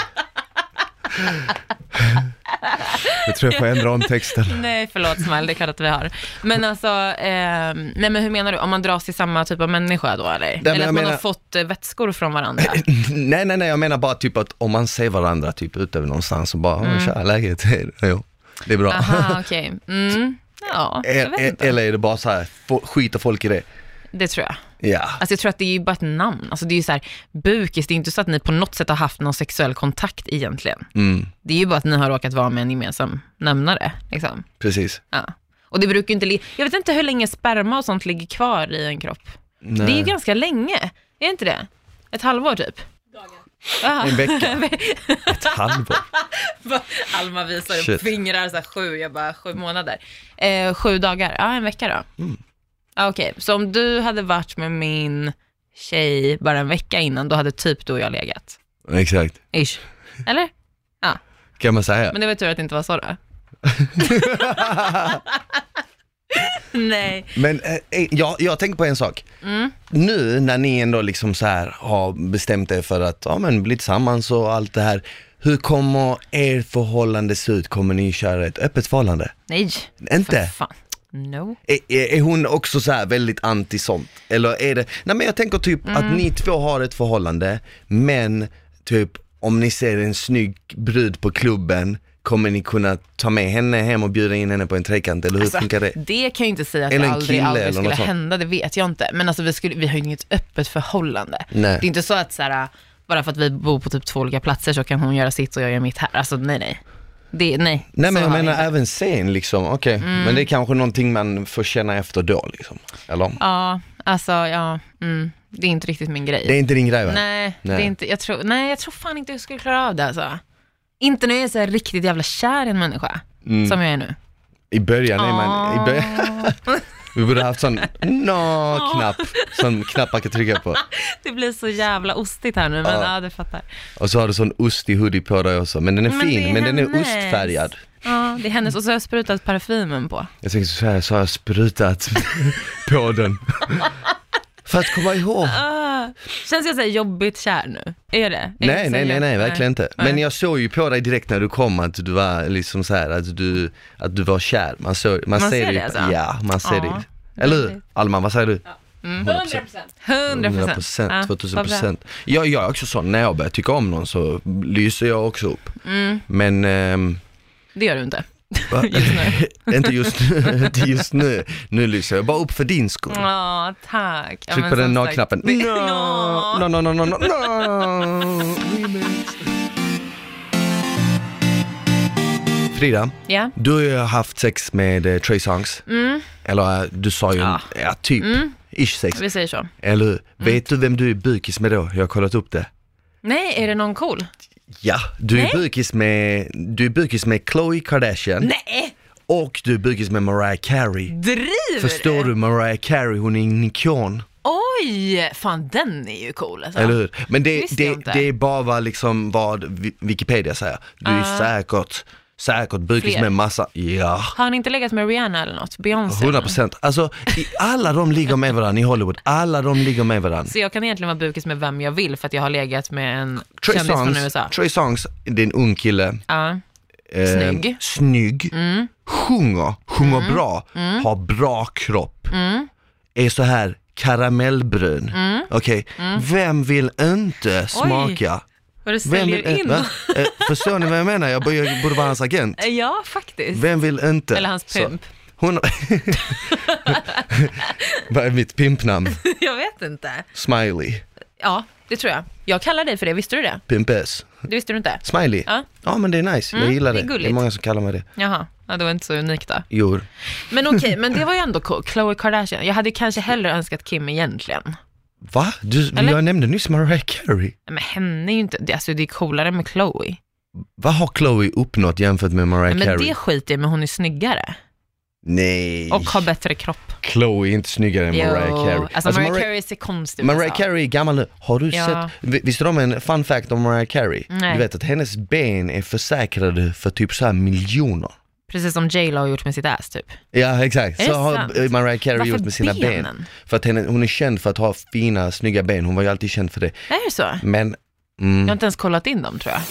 [SPEAKER 2] jag tror jag får ändra om texten.
[SPEAKER 1] Nej förlåt Smile, det är klart att vi har. Men alltså, eh, nej men hur menar du? Om man dras till samma typ av människa då eller?
[SPEAKER 2] men
[SPEAKER 1] eller
[SPEAKER 2] jag
[SPEAKER 1] att man
[SPEAKER 2] menar-
[SPEAKER 1] har fått eh, vätskor från varandra?
[SPEAKER 2] Nej, nej, nej, jag menar bara typ att om man ser varandra typ ute någonstans och bara, mm. tja, läget? Jo, det är bra.
[SPEAKER 1] Aha, okej. Mm. Ja, jag vet
[SPEAKER 2] E-
[SPEAKER 1] inte.
[SPEAKER 2] eller är det bara så här, fo- skiter folk i det?
[SPEAKER 1] Det tror jag.
[SPEAKER 2] Ja.
[SPEAKER 1] Alltså jag tror att det är ju bara ett namn. Alltså det är ju så här, bukis, det är inte så att ni på något sätt har haft någon sexuell kontakt egentligen.
[SPEAKER 2] Mm,
[SPEAKER 1] Det är ju bara att ni har råkat vara med en gemensam nämnare. Liksom.
[SPEAKER 2] precis.
[SPEAKER 1] Ja. Och det brukar ju inte li- Jag vet inte hur länge sperma och sånt ligger kvar i en kropp. Det är ju ganska länge, är det inte det? Ett halvår typ? Dagar.
[SPEAKER 2] En vecka, ett halvår.
[SPEAKER 1] Alma visar
[SPEAKER 2] upp
[SPEAKER 1] upp
[SPEAKER 2] Shit.
[SPEAKER 1] fingrar så sju, jag bara sju månader. Eh, sju dagar, ja en vecka då. Ja, Okej, så om du hade varit med min tjej bara en vecka innan, då hade typ du och jag legat?
[SPEAKER 2] Exakt,
[SPEAKER 1] Ish. Eller? Ja,
[SPEAKER 2] kan man säga.
[SPEAKER 1] men det var tur att det inte var så då. Nej.
[SPEAKER 2] Men eh, eh, jag, jag tänker på en sak.
[SPEAKER 1] Mm.
[SPEAKER 2] Nu när ni ändå liksom så här har bestämt er för att ja, men bli tillsammans och allt det här. Hur kommer er förhållande se ut? Kommer ni köra ett öppet förhållande?
[SPEAKER 1] Nej. För
[SPEAKER 2] Inte?
[SPEAKER 1] fan. No.
[SPEAKER 2] Är, är, är hon också så här väldigt anti sånt? Eller är det, nej men jag tänker typ att ni två har ett förhållande, men typ om ni ser en snygg brud på klubben, kommer ni kunna ta med henne hem och bjuda in henne på en trekant? Eller hur funkar det?
[SPEAKER 1] Det kan jag ju inte säga att
[SPEAKER 2] Eller
[SPEAKER 1] det
[SPEAKER 2] en
[SPEAKER 1] aldrig,
[SPEAKER 2] kille
[SPEAKER 1] aldrig
[SPEAKER 2] eller
[SPEAKER 1] skulle
[SPEAKER 2] något sånt.
[SPEAKER 1] hända, det vet jag inte. Men alltså vi, skulle, vi har ju inget öppet förhållande.
[SPEAKER 2] Nej.
[SPEAKER 1] Det är inte så att så här, bara för att vi bor på typ två olika platser så kan hon göra sitt och jag gör mitt här. Alltså nej, nej. Det, nej,
[SPEAKER 2] Nej men
[SPEAKER 1] Så
[SPEAKER 2] jag
[SPEAKER 1] har vi
[SPEAKER 2] menar
[SPEAKER 1] inte.
[SPEAKER 2] även sen liksom, okej, men det är kanske någonting man får känna efter då liksom, eller?
[SPEAKER 1] Ja, alltså ja, mm, det är inte riktigt min grej.
[SPEAKER 2] Det är inte din grej va?
[SPEAKER 1] nej,
[SPEAKER 2] Nej.
[SPEAKER 1] Det är inte, jag tror, nej, jag tror fan inte jag skulle klara av det alltså. Inte när jag är så här riktigt jävla kär i en människa, som jag är nu.
[SPEAKER 2] I början är man, Mm. i början, vi borde haft sån no-knapp, som knapp man kan trycka på.
[SPEAKER 1] det blir så jävla ostigt här nu, men ja,
[SPEAKER 2] Ja.
[SPEAKER 1] du fattar.
[SPEAKER 2] Och så har du sån ostig hoodie på dig också, men den är
[SPEAKER 1] Men
[SPEAKER 2] fin,
[SPEAKER 1] det är
[SPEAKER 2] men den är
[SPEAKER 1] hennes.
[SPEAKER 2] ostfärgad.
[SPEAKER 1] Ja, det är hennes och så har jag sprutat parfymen på.
[SPEAKER 2] Jag tänker så här, så har jag sprutat på den. För att komma ihåg.
[SPEAKER 1] Ah, känns jag så här jobbigt kär nu? Är det? Är det
[SPEAKER 2] Nej,
[SPEAKER 1] så
[SPEAKER 2] nej, nej,
[SPEAKER 1] jobb-
[SPEAKER 2] nej, verkligen inte.
[SPEAKER 1] Nej.
[SPEAKER 2] Men jag såg ju på dig direkt när du kom att du var liksom så här, att du, att du var kär. Man, såg, man,
[SPEAKER 1] Man
[SPEAKER 2] ser,
[SPEAKER 1] ser
[SPEAKER 2] det,
[SPEAKER 1] det
[SPEAKER 2] ju-
[SPEAKER 1] alltså?
[SPEAKER 2] Ja, man ser
[SPEAKER 1] Ja,
[SPEAKER 2] det. ju. Eller hur?
[SPEAKER 1] väldigt.
[SPEAKER 2] Alman, vad säger du?
[SPEAKER 3] 100 procent.
[SPEAKER 1] 100
[SPEAKER 2] 100
[SPEAKER 1] Mm. procent.
[SPEAKER 2] procent, 2000 procent. Ja, jag är också sån, när jag börjar tycka om någon så lyser jag också upp.
[SPEAKER 1] Mm.
[SPEAKER 2] Men ehm,
[SPEAKER 1] Det gör du inte.
[SPEAKER 2] va-
[SPEAKER 1] Just nu.
[SPEAKER 2] inte just nu, inte just nu. Nu lyser jag bara upp för din skull.
[SPEAKER 1] Ja, tack. Ja,
[SPEAKER 2] Tryck
[SPEAKER 1] men
[SPEAKER 2] på den
[SPEAKER 1] som sagt,
[SPEAKER 2] no-knappen.
[SPEAKER 1] det-
[SPEAKER 2] No, no, no, no, no, no, no. Remix. Frida,
[SPEAKER 1] Ja,
[SPEAKER 2] du har ju haft sex med eh, Trey Songs. Eller eh, du sa ju,
[SPEAKER 1] Mm. Ja. Mm.
[SPEAKER 2] ja, typ, ish sex.
[SPEAKER 1] vi säger så.
[SPEAKER 2] Eller hur? Vet du vem du är bukis med då? Jag har kollat upp det.
[SPEAKER 1] Nej, är det någon cool?
[SPEAKER 2] Ja, du
[SPEAKER 1] Nej.
[SPEAKER 2] är bukis med, du är bukis med Khloe Kardashian
[SPEAKER 1] Nej,
[SPEAKER 2] och du är bukis med Mariah Carey.
[SPEAKER 1] driver
[SPEAKER 2] Förstår du Mariah Carey, hon är en ikon.
[SPEAKER 1] Oj, fan den är ju cool alltså.
[SPEAKER 2] Eller hur? Men det,
[SPEAKER 1] Visste jag
[SPEAKER 2] det,
[SPEAKER 1] inte.
[SPEAKER 2] det är bara vad, liksom, vad Vi- Wikipedia säger. Du är
[SPEAKER 1] Ah.
[SPEAKER 2] säkert, säkert bukis
[SPEAKER 1] Fler.
[SPEAKER 2] med massa, ja.
[SPEAKER 1] Har han inte legat med Rihanna eller något? Beyoncé?
[SPEAKER 2] 100 procent. Alltså, i, alla de ligger med varandra i Hollywood. Alla de ligger med varandra.
[SPEAKER 1] Så jag kan egentligen vara bukis med vem jag vill för att jag har legat med en
[SPEAKER 2] Trey
[SPEAKER 1] kändis från
[SPEAKER 2] Songs,
[SPEAKER 1] USA.
[SPEAKER 2] Trey Songs, det är en ung kille.
[SPEAKER 1] Ja.
[SPEAKER 2] Eh,
[SPEAKER 1] Snygg. Mm.
[SPEAKER 2] snygg, Sjunger, sjunger bra, har bra kropp.
[SPEAKER 1] Mm.
[SPEAKER 2] Är så här karamellbrun. Okej,
[SPEAKER 1] Mm.
[SPEAKER 2] vem vill inte smaka?
[SPEAKER 1] Vad du
[SPEAKER 2] Vem
[SPEAKER 1] säljer
[SPEAKER 2] vill, eh,
[SPEAKER 1] in.
[SPEAKER 2] va? Eh, förstår ni vad jag menar? Jag borde, jag borde vara hans agent.
[SPEAKER 1] Eh, Ja, faktiskt.
[SPEAKER 2] Vem vill inte?
[SPEAKER 1] Eller hans
[SPEAKER 2] Så,
[SPEAKER 1] pump.
[SPEAKER 2] Hon... vad är mitt pimpnamn?
[SPEAKER 1] Jag vet inte.
[SPEAKER 2] Smiley.
[SPEAKER 1] Ja, det tror jag. Jag kallar dig för det, visste du det?
[SPEAKER 2] Pimpes.
[SPEAKER 1] Det visste du inte?
[SPEAKER 2] Smiley.
[SPEAKER 1] Ja. Mm,
[SPEAKER 2] Ja men det är nice, jag gillar
[SPEAKER 1] det
[SPEAKER 2] det.
[SPEAKER 1] är
[SPEAKER 2] Det är,
[SPEAKER 1] gulligt.
[SPEAKER 2] många som kallar mig det.
[SPEAKER 1] Jaha, ja, det var inte så unikt då.
[SPEAKER 2] Jo.
[SPEAKER 1] Men okej, men det var ju ändå cool. Khloe Kardashian. Jag hade kanske hellre önskat Kim egentligen.
[SPEAKER 2] Va? Du,
[SPEAKER 1] Eller?
[SPEAKER 2] jag nämnde nyss Mariah Carey.
[SPEAKER 1] Men henne är ju inte, det- alltså det är coolare med Khloe.
[SPEAKER 2] Vad har Chloe uppnått jämfört med Mariah
[SPEAKER 1] Men
[SPEAKER 2] Carey?
[SPEAKER 1] det skiter jag i, men hon är snyggare.
[SPEAKER 2] Nej.
[SPEAKER 1] Och har bättre kropp.
[SPEAKER 2] Chloe är inte snyggare än Mariah Carey.
[SPEAKER 1] Alltså, Mariah Carey ser konstig ut.
[SPEAKER 2] Mariah
[SPEAKER 1] alltså.
[SPEAKER 2] Carey är gammal nu. Har du
[SPEAKER 1] Ja.
[SPEAKER 2] sett, vi- visste du om en fun fact om Mariah Carey?
[SPEAKER 1] Nej.
[SPEAKER 2] Du vet att hennes ben är försäkrade för typ så här miljoner.
[SPEAKER 1] Precis som J Lo har gjort med sitt ass typ.
[SPEAKER 2] Ja exakt,
[SPEAKER 1] Är
[SPEAKER 2] så
[SPEAKER 1] det
[SPEAKER 2] har
[SPEAKER 1] sant?
[SPEAKER 2] eh, Mariah Carey
[SPEAKER 1] Varför
[SPEAKER 2] gjort med sina ben.
[SPEAKER 1] benen?
[SPEAKER 2] För att henne, hon är känd för att ha fina, snygga ben. Hon var ju alltid känd för det.
[SPEAKER 1] Är det så?
[SPEAKER 2] Men mm.
[SPEAKER 1] Jag har inte ens kollat in dem tror jag.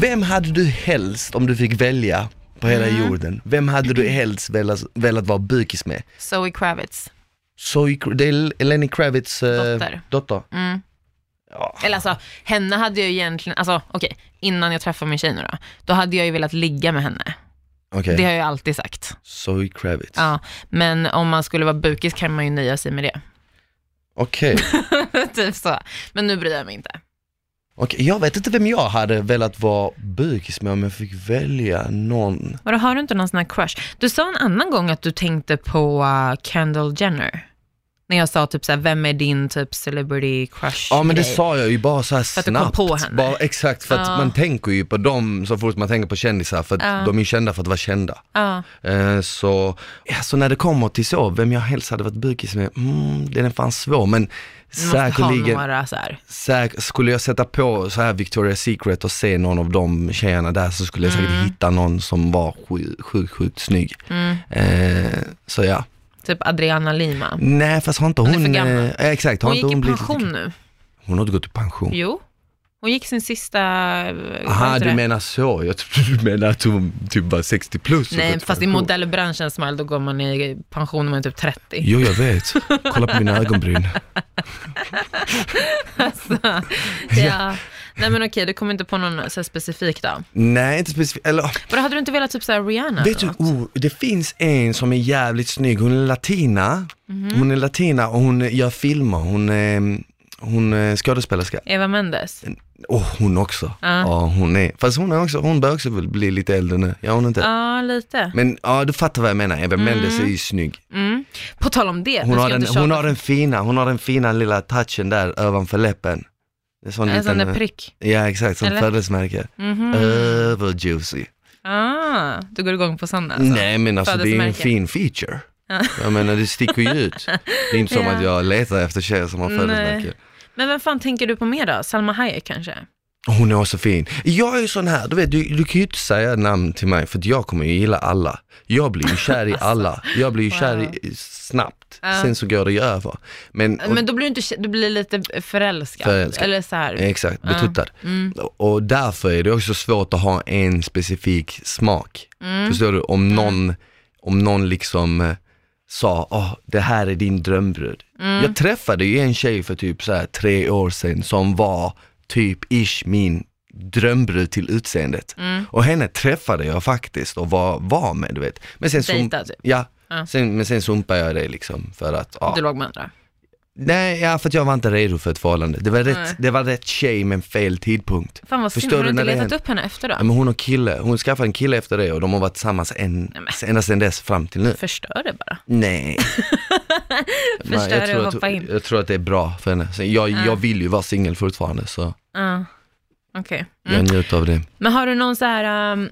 [SPEAKER 2] Vem hade du helst, om du fick välja på hela
[SPEAKER 1] Mm.
[SPEAKER 2] jorden, vem hade du helst velat, velat vara bukis med?
[SPEAKER 1] Zoe Kravitz.
[SPEAKER 2] Zoe, Kra- det är Lenny Kravitz eh,
[SPEAKER 1] Dotter.
[SPEAKER 2] dotter.
[SPEAKER 1] Mm.
[SPEAKER 2] Ja.
[SPEAKER 1] Eller alltså, henne hade jag ju egentligen, alltså okej, innan jag träffade min tjej nu då, då hade jag ju velat ligga med henne.
[SPEAKER 2] Okej,
[SPEAKER 1] Det har jag ju alltid sagt.
[SPEAKER 2] Zoe Kravitz.
[SPEAKER 1] Ja, men om man skulle vara bukis kan man ju nöja sig med det.
[SPEAKER 2] Okej,
[SPEAKER 1] typ så. Men nu bryr jag mig inte.
[SPEAKER 2] Okej, jag vet inte vem jag hade velat vara bukis med om jag fick välja någon.
[SPEAKER 1] Vadå, har du inte någon sån här crush? Du sa en annan gång att du tänkte på uh, Kendall Jenner. När jag sa typ såhär, vem är din typ celebrity crush?
[SPEAKER 2] Ja men det
[SPEAKER 1] grej?
[SPEAKER 2] sa jag ju bara så här
[SPEAKER 1] att du kom
[SPEAKER 2] snabbt.
[SPEAKER 1] på henne.
[SPEAKER 2] Bara, exakt, för att
[SPEAKER 1] Ja.
[SPEAKER 2] man tänker ju på dem så fort man tänker på kändisar för att
[SPEAKER 1] Ja.
[SPEAKER 2] de är kända för att vara kända.
[SPEAKER 1] Ja.
[SPEAKER 2] Eh, Så, ja, så när det kommer till så, vem jag helst hade varit bukis med, mm, den är fan svår men
[SPEAKER 1] Du måste ha
[SPEAKER 2] säkerligen,
[SPEAKER 1] några så här.
[SPEAKER 2] säk, skulle jag sätta på så här Victoria's Secret och se någon av de tjejerna där så skulle jag
[SPEAKER 1] Mm.
[SPEAKER 2] säkert hitta någon som var sjukt, sjukt, sjukt snygg. Eh, så ja,
[SPEAKER 1] Typ Adriana Lima.
[SPEAKER 2] nej fast har inte
[SPEAKER 1] Hon är
[SPEAKER 2] hon,
[SPEAKER 1] för gammal.
[SPEAKER 2] eh, exakt, har
[SPEAKER 1] Hon
[SPEAKER 2] inte
[SPEAKER 1] gick
[SPEAKER 2] hon
[SPEAKER 1] i
[SPEAKER 2] blivit
[SPEAKER 1] pension nu.
[SPEAKER 2] Hon har inte gått i pension.
[SPEAKER 1] Jo. Hon gick sin sista... eh, vad
[SPEAKER 2] Aha,
[SPEAKER 1] heter
[SPEAKER 2] du
[SPEAKER 1] det?
[SPEAKER 2] menar så. Jag trodde du menar att hon typ var 60 plus. och
[SPEAKER 1] Nej,
[SPEAKER 2] gått
[SPEAKER 1] fast i
[SPEAKER 2] pension.
[SPEAKER 1] modellbranschen Smile, då går man i pension när man är typ 30.
[SPEAKER 2] Jo, jag vet. Kolla på mina ögonbryn.
[SPEAKER 1] ja. Nej men okej, du kommer inte på någon så här specifik då.
[SPEAKER 2] Nej, inte specifikt. Eller,
[SPEAKER 1] Vadå, hade du inte velat typ så här Rihanna?
[SPEAKER 2] vet du,
[SPEAKER 1] eller något?
[SPEAKER 2] oh, det finns en som är jävligt snygg. Hon är latina.
[SPEAKER 1] Mhm.
[SPEAKER 2] Hon är latina och hon gör filmer. Hon är, hon är skådespelerska.
[SPEAKER 1] Eva Mendes?
[SPEAKER 2] Och hon också. Ja, hon är. Fast hon, är också, hon börjar också väl bli lite äldre nu. Ja, hon är inte.
[SPEAKER 1] Ja, Mm. lite.
[SPEAKER 2] Men ja, du fattar vad jag menar. Eva Mendes är ju snygg.
[SPEAKER 1] Mm. På tal om det, nu
[SPEAKER 2] Hon
[SPEAKER 1] ska
[SPEAKER 2] har,
[SPEAKER 1] jag
[SPEAKER 2] den,
[SPEAKER 1] inte tjata.
[SPEAKER 2] hon har den fina, hon har den fina lilla touchen där ovanför läppen. En sån
[SPEAKER 1] en sån
[SPEAKER 2] liten, eh,
[SPEAKER 1] där prick.
[SPEAKER 2] ja exakt, som
[SPEAKER 1] Eller? Mm.
[SPEAKER 2] födelsemärke. Överjuicy.
[SPEAKER 1] Ah, du går igång på sådana alltså.
[SPEAKER 2] Nej men alltså det är en
[SPEAKER 1] Födelsemärke.
[SPEAKER 2] fin feature. Jag menar det sticker ju ut. Det är inte som
[SPEAKER 1] Ja.
[SPEAKER 2] att jag letar efter tjejer som har
[SPEAKER 1] Nej.
[SPEAKER 2] födelsemärke.
[SPEAKER 1] Men vem fan tänker du på mer då? Salma Hayek kanske?
[SPEAKER 2] Hon är också fin. Jag är ju sån här, du vet du, du kan ju inte säga namn till mig för att jag kommer ju gilla alla. Jag blir ju kär i alla. Jag blir ju kär i,
[SPEAKER 1] Alltså.
[SPEAKER 2] snabbt.
[SPEAKER 1] Ja.
[SPEAKER 2] Sen så går det ju över. Men, och-
[SPEAKER 1] Men då blir du, inte, du blir lite förälskad.
[SPEAKER 2] Förälskad. Eh,
[SPEAKER 1] Eller så här. Mm.
[SPEAKER 2] Exakt, betuttad. Och därför är det också svårt att ha en specifik smak.
[SPEAKER 1] Mm.
[SPEAKER 2] Förstår du? Om någon, om någon liksom eh, sa, åh det här är din drömbrud.
[SPEAKER 1] Mm.
[SPEAKER 2] Jag träffade ju en tjej för typ så här tre år sedan som var typ ish min drömbrud till utseendet.
[SPEAKER 1] Mm.
[SPEAKER 2] Och henne träffade jag faktiskt och var, var med du vet. Men sen, sum-
[SPEAKER 1] Dejta, typ.
[SPEAKER 2] ja,
[SPEAKER 1] Ja.
[SPEAKER 2] Sen, men sen sumpade jag det liksom för att, ja.
[SPEAKER 1] Du låg med andra.
[SPEAKER 2] Nej, ja, för att jag var inte redo för ett förhållande. Det var
[SPEAKER 1] Nej.
[SPEAKER 2] rätt, det var rätt tjej men fel tidpunkt.
[SPEAKER 1] Fan vad synd,
[SPEAKER 2] Förstår
[SPEAKER 1] har du
[SPEAKER 2] du
[SPEAKER 1] inte
[SPEAKER 2] när det
[SPEAKER 1] letat
[SPEAKER 2] händer?
[SPEAKER 1] upp henne efter då?
[SPEAKER 2] Ja, men hon och kille, hon skaffade en kille efter det och de har varit tillsammans en, ända sedan dess fram till nu.
[SPEAKER 1] Förstör det bara.
[SPEAKER 2] Nej. Men
[SPEAKER 1] Förstör det och
[SPEAKER 2] att,
[SPEAKER 1] hoppa in.
[SPEAKER 2] jag tror att det är bra för henne. Sen, jag, jag vill ju vara singel fortfarande så
[SPEAKER 1] Mm. Ja, Okej. Mm.
[SPEAKER 2] jag njuter av det.
[SPEAKER 1] Men har du någon så här, um,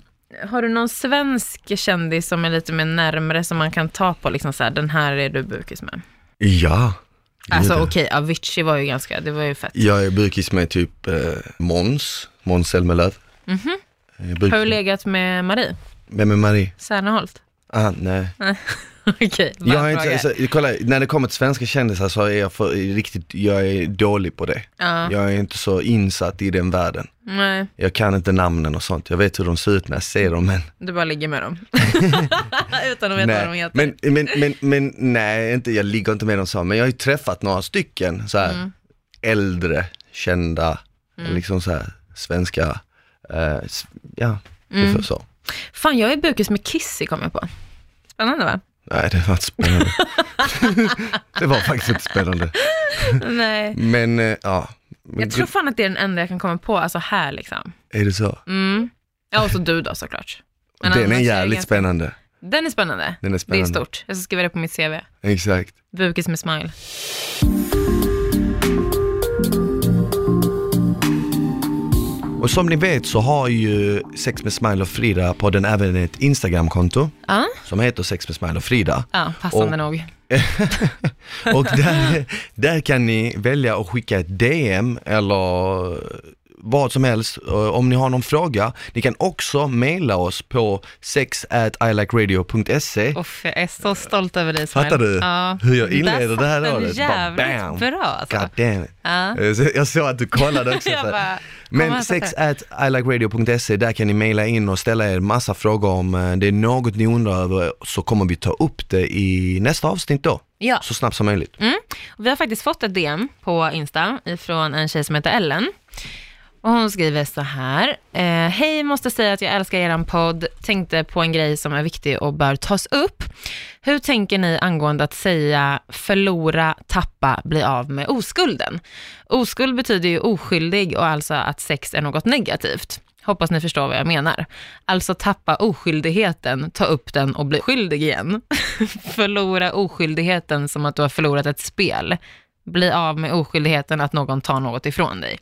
[SPEAKER 1] har du någon svensk kändis som är lite mer närmare som man kan ta på liksom så här, den här är du bukis
[SPEAKER 2] Mm.
[SPEAKER 1] med?
[SPEAKER 2] Ja.
[SPEAKER 1] Alltså
[SPEAKER 2] Gud.
[SPEAKER 1] okej, Avicii var ju ganska, det var ju fett.
[SPEAKER 2] Jag är bukis med typ eh, Måns, Måns Zelmerlöw. Jag är bukis-
[SPEAKER 1] Mhm. Har du legat med Marie
[SPEAKER 2] Vem är Marie?
[SPEAKER 1] Serneholt?
[SPEAKER 2] Ah, nej.
[SPEAKER 1] okej,
[SPEAKER 2] Jag
[SPEAKER 1] bara
[SPEAKER 2] är
[SPEAKER 1] en
[SPEAKER 2] inte,
[SPEAKER 1] fråga.
[SPEAKER 2] alltså, kolla, när det kommer till svenska kändisar så är jag för, riktigt, jag är dålig på det.
[SPEAKER 1] Ja,
[SPEAKER 2] Jag är inte så insatt i den världen.
[SPEAKER 1] nej,
[SPEAKER 2] Jag kan inte namnen och sånt. Jag vet hur de ser ut när jag ser dem men...
[SPEAKER 1] du bara ligger med dem. Utan att veta vad de
[SPEAKER 2] Nej.
[SPEAKER 1] heter.
[SPEAKER 2] Men, men, men, men nej, inte, jag ligger inte med dem så. Men jag har ju träffat några stycken så här
[SPEAKER 1] Mm.
[SPEAKER 2] äldre, kända, liksom så här svenska, eh, s- ja,
[SPEAKER 1] Mm.
[SPEAKER 2] ungefär så.
[SPEAKER 1] Fan, jag är bukis med Kissy kom jag på. Spännande va?
[SPEAKER 2] Nej, det var inte spännande. det var faktiskt inte spännande.
[SPEAKER 1] nej.
[SPEAKER 2] Men, eh, ja.
[SPEAKER 1] Jag tror fan att det är den enda jag kan komma på, alltså här liksom.
[SPEAKER 2] Är det så?
[SPEAKER 1] Mm. Ja, och så du då såklart. Men
[SPEAKER 2] den
[SPEAKER 1] annars
[SPEAKER 2] är
[SPEAKER 1] jag
[SPEAKER 2] jävligt
[SPEAKER 1] ganska-
[SPEAKER 2] spännande.
[SPEAKER 1] Den är spännande.
[SPEAKER 2] Den är spännande.
[SPEAKER 1] Det är stort. Jag ska skriva det på mitt CV.
[SPEAKER 2] Exakt.
[SPEAKER 1] Bukis med smile.
[SPEAKER 2] Och Och som ni vet så har ju Sex med Smile och Frida podden även ett Instagramkonto
[SPEAKER 1] Ja,
[SPEAKER 2] som heter Sex med Smile och Frida.
[SPEAKER 1] ja passande
[SPEAKER 2] Och-
[SPEAKER 1] nog.
[SPEAKER 2] Och där, där kan ni välja att skicka ett DM eller vad som helst eh, om ni har någon fråga. Ni kan också mejla oss på sexatillikeradio.se
[SPEAKER 1] Uff, jag är så stolt över dig Ismail.
[SPEAKER 2] Fattar du
[SPEAKER 1] Ja.
[SPEAKER 2] hur jag inleder
[SPEAKER 1] Där
[SPEAKER 2] det här
[SPEAKER 1] satt den
[SPEAKER 2] året? Bara bam.
[SPEAKER 1] jävligt bra alltså.
[SPEAKER 2] God damn it.
[SPEAKER 1] Ja.
[SPEAKER 2] Eh, så Jag såg att du kollade också.
[SPEAKER 1] Jag
[SPEAKER 2] så här.
[SPEAKER 1] bara, kom här,
[SPEAKER 2] Men
[SPEAKER 1] satt
[SPEAKER 2] sex at ilikeradio.se, där kan ni mejla in och ställa er massa frågor om eh, det är något ni undrar över så kommer vi ta upp det i nästa avsnitt då,
[SPEAKER 1] Ja,
[SPEAKER 2] så snabbt som möjligt.
[SPEAKER 1] vi har faktiskt fått ett DM på Insta från en tjej som heter Ellen. Och hon skriver så här. Eh, Hej, måste säga att jag älskar eran podd. Tänkte på en grej som är viktig och bör tas upp. Hur tänker ni angående att säga förlora, tappa, bli av med oskulden? Oskuld betyder ju oskyldig och alltså att sex är något negativt. Hoppas ni förstår vad jag menar. Alltså tappa oskyldigheten, ta upp den och bli skyldig igen. förlora oskyldigheten som att du har förlorat ett spel. Bli av med oskyldigheten att någon tar något ifrån dig.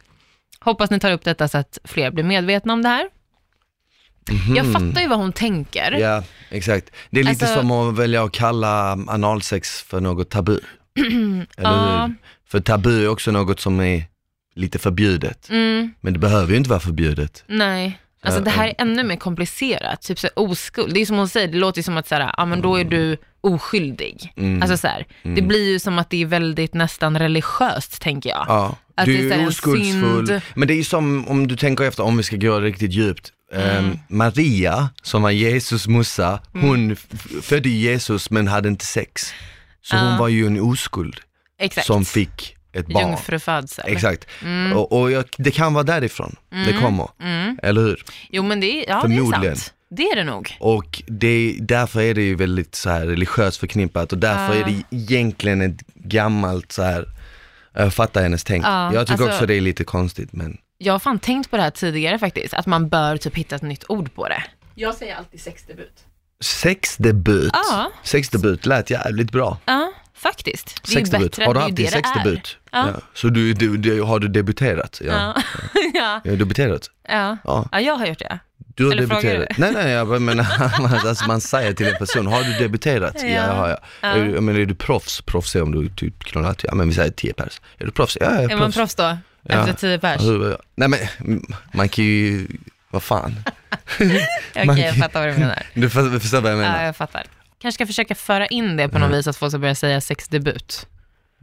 [SPEAKER 1] Hoppas ni tar upp detta så att fler blir medvetna om det här.
[SPEAKER 2] Mhm.
[SPEAKER 1] Jag fattar ju vad hon tänker.
[SPEAKER 2] Mm. Ja, exakt. Det är lite
[SPEAKER 1] Alltså-
[SPEAKER 2] som att välja att kalla analsex för något tabu. Eller
[SPEAKER 1] Ja.
[SPEAKER 2] hur? För tabu är också något som är lite förbjudet.
[SPEAKER 1] Mm,
[SPEAKER 2] Men det behöver ju inte vara förbjudet.
[SPEAKER 1] nej. Alltså
[SPEAKER 2] Ja,
[SPEAKER 1] det här är ännu mer komplicerat, typ så här, oskuld. Det är ju som hon säger, det låter ju som att så här, ja men då är du oskyldig.
[SPEAKER 2] Mm.
[SPEAKER 1] Alltså så här, det blir ju som att det är väldigt nästan religiöst tänker jag.
[SPEAKER 2] Ja,
[SPEAKER 1] Att det är så
[SPEAKER 2] du
[SPEAKER 1] här
[SPEAKER 2] är
[SPEAKER 1] en
[SPEAKER 2] oskuldsfull.
[SPEAKER 1] synd.
[SPEAKER 2] Men det är ju som, om du tänker efter, om vi ska gå riktigt djupt. Ehm,
[SPEAKER 1] Mm.
[SPEAKER 2] Maria, som var Jesus morsa, hon f- f- födde Jesus men hade inte sex. Så hon var ju en oskuld
[SPEAKER 1] Exakt.
[SPEAKER 2] som fick ett barn.
[SPEAKER 1] Jungfrufödsel.
[SPEAKER 2] Exakt.
[SPEAKER 1] Mm.
[SPEAKER 2] Och, och jag, det kan vara därifrån det kommer, eller hur?
[SPEAKER 1] Jo men det är, ja, det är
[SPEAKER 2] Förmodligen.
[SPEAKER 1] sant. Det är det nog.
[SPEAKER 2] Och det, därför är det ju väldigt så här religiöst förknippat och därför är det egentligen ett gammalt så här jag fattar hennes tänk.
[SPEAKER 1] Ja,
[SPEAKER 2] jag tycker
[SPEAKER 1] alltså-
[SPEAKER 2] också det är lite konstigt men
[SPEAKER 1] Jag har fan tänkt på det här tidigare faktiskt, att man bör typ hitta ett nytt ord på det.
[SPEAKER 3] Jag säger alltid sexdebut.
[SPEAKER 2] Sexdebut,
[SPEAKER 1] Ja.
[SPEAKER 2] sexdebut lät jävligt bra.
[SPEAKER 1] Ja, faktiskt. Det är ju
[SPEAKER 2] Sexdebut,
[SPEAKER 1] bättre,
[SPEAKER 2] har du
[SPEAKER 1] det är ju
[SPEAKER 2] haft din
[SPEAKER 1] det det är.
[SPEAKER 2] sexdebut?
[SPEAKER 1] Ja.
[SPEAKER 2] Så du, du, du, har du debuterat? Ja.
[SPEAKER 1] Ja. ja,
[SPEAKER 2] Jag har debuterat?
[SPEAKER 1] ja.
[SPEAKER 2] Ja.
[SPEAKER 1] ja, jag har gjort det.
[SPEAKER 2] Du har
[SPEAKER 1] Eller frågar
[SPEAKER 2] debuterat? Nej nej, jag bara menar, man, alltså, man säger till en person, har du debuterat? Ja,
[SPEAKER 1] Ja.
[SPEAKER 2] det har jag. Är du- Men är du proffs? Proffs är om du typ knullat, ja men vi säger 10 pers. Är du proffs? Ja, jag Alltså, är
[SPEAKER 1] Är man
[SPEAKER 2] proffs.
[SPEAKER 1] proffs då? Efter tio pers?
[SPEAKER 2] Hur, nej men, man kan ju, vad fan.
[SPEAKER 1] Okej,
[SPEAKER 2] man-
[SPEAKER 1] jag fattar vad du menar.
[SPEAKER 2] Du för- förstår vad jag menar.
[SPEAKER 1] Ja, jag fattar. Kanske ska försöka föra in det på
[SPEAKER 2] Mm.
[SPEAKER 1] något vis, att folk ska börja säga sexdebut.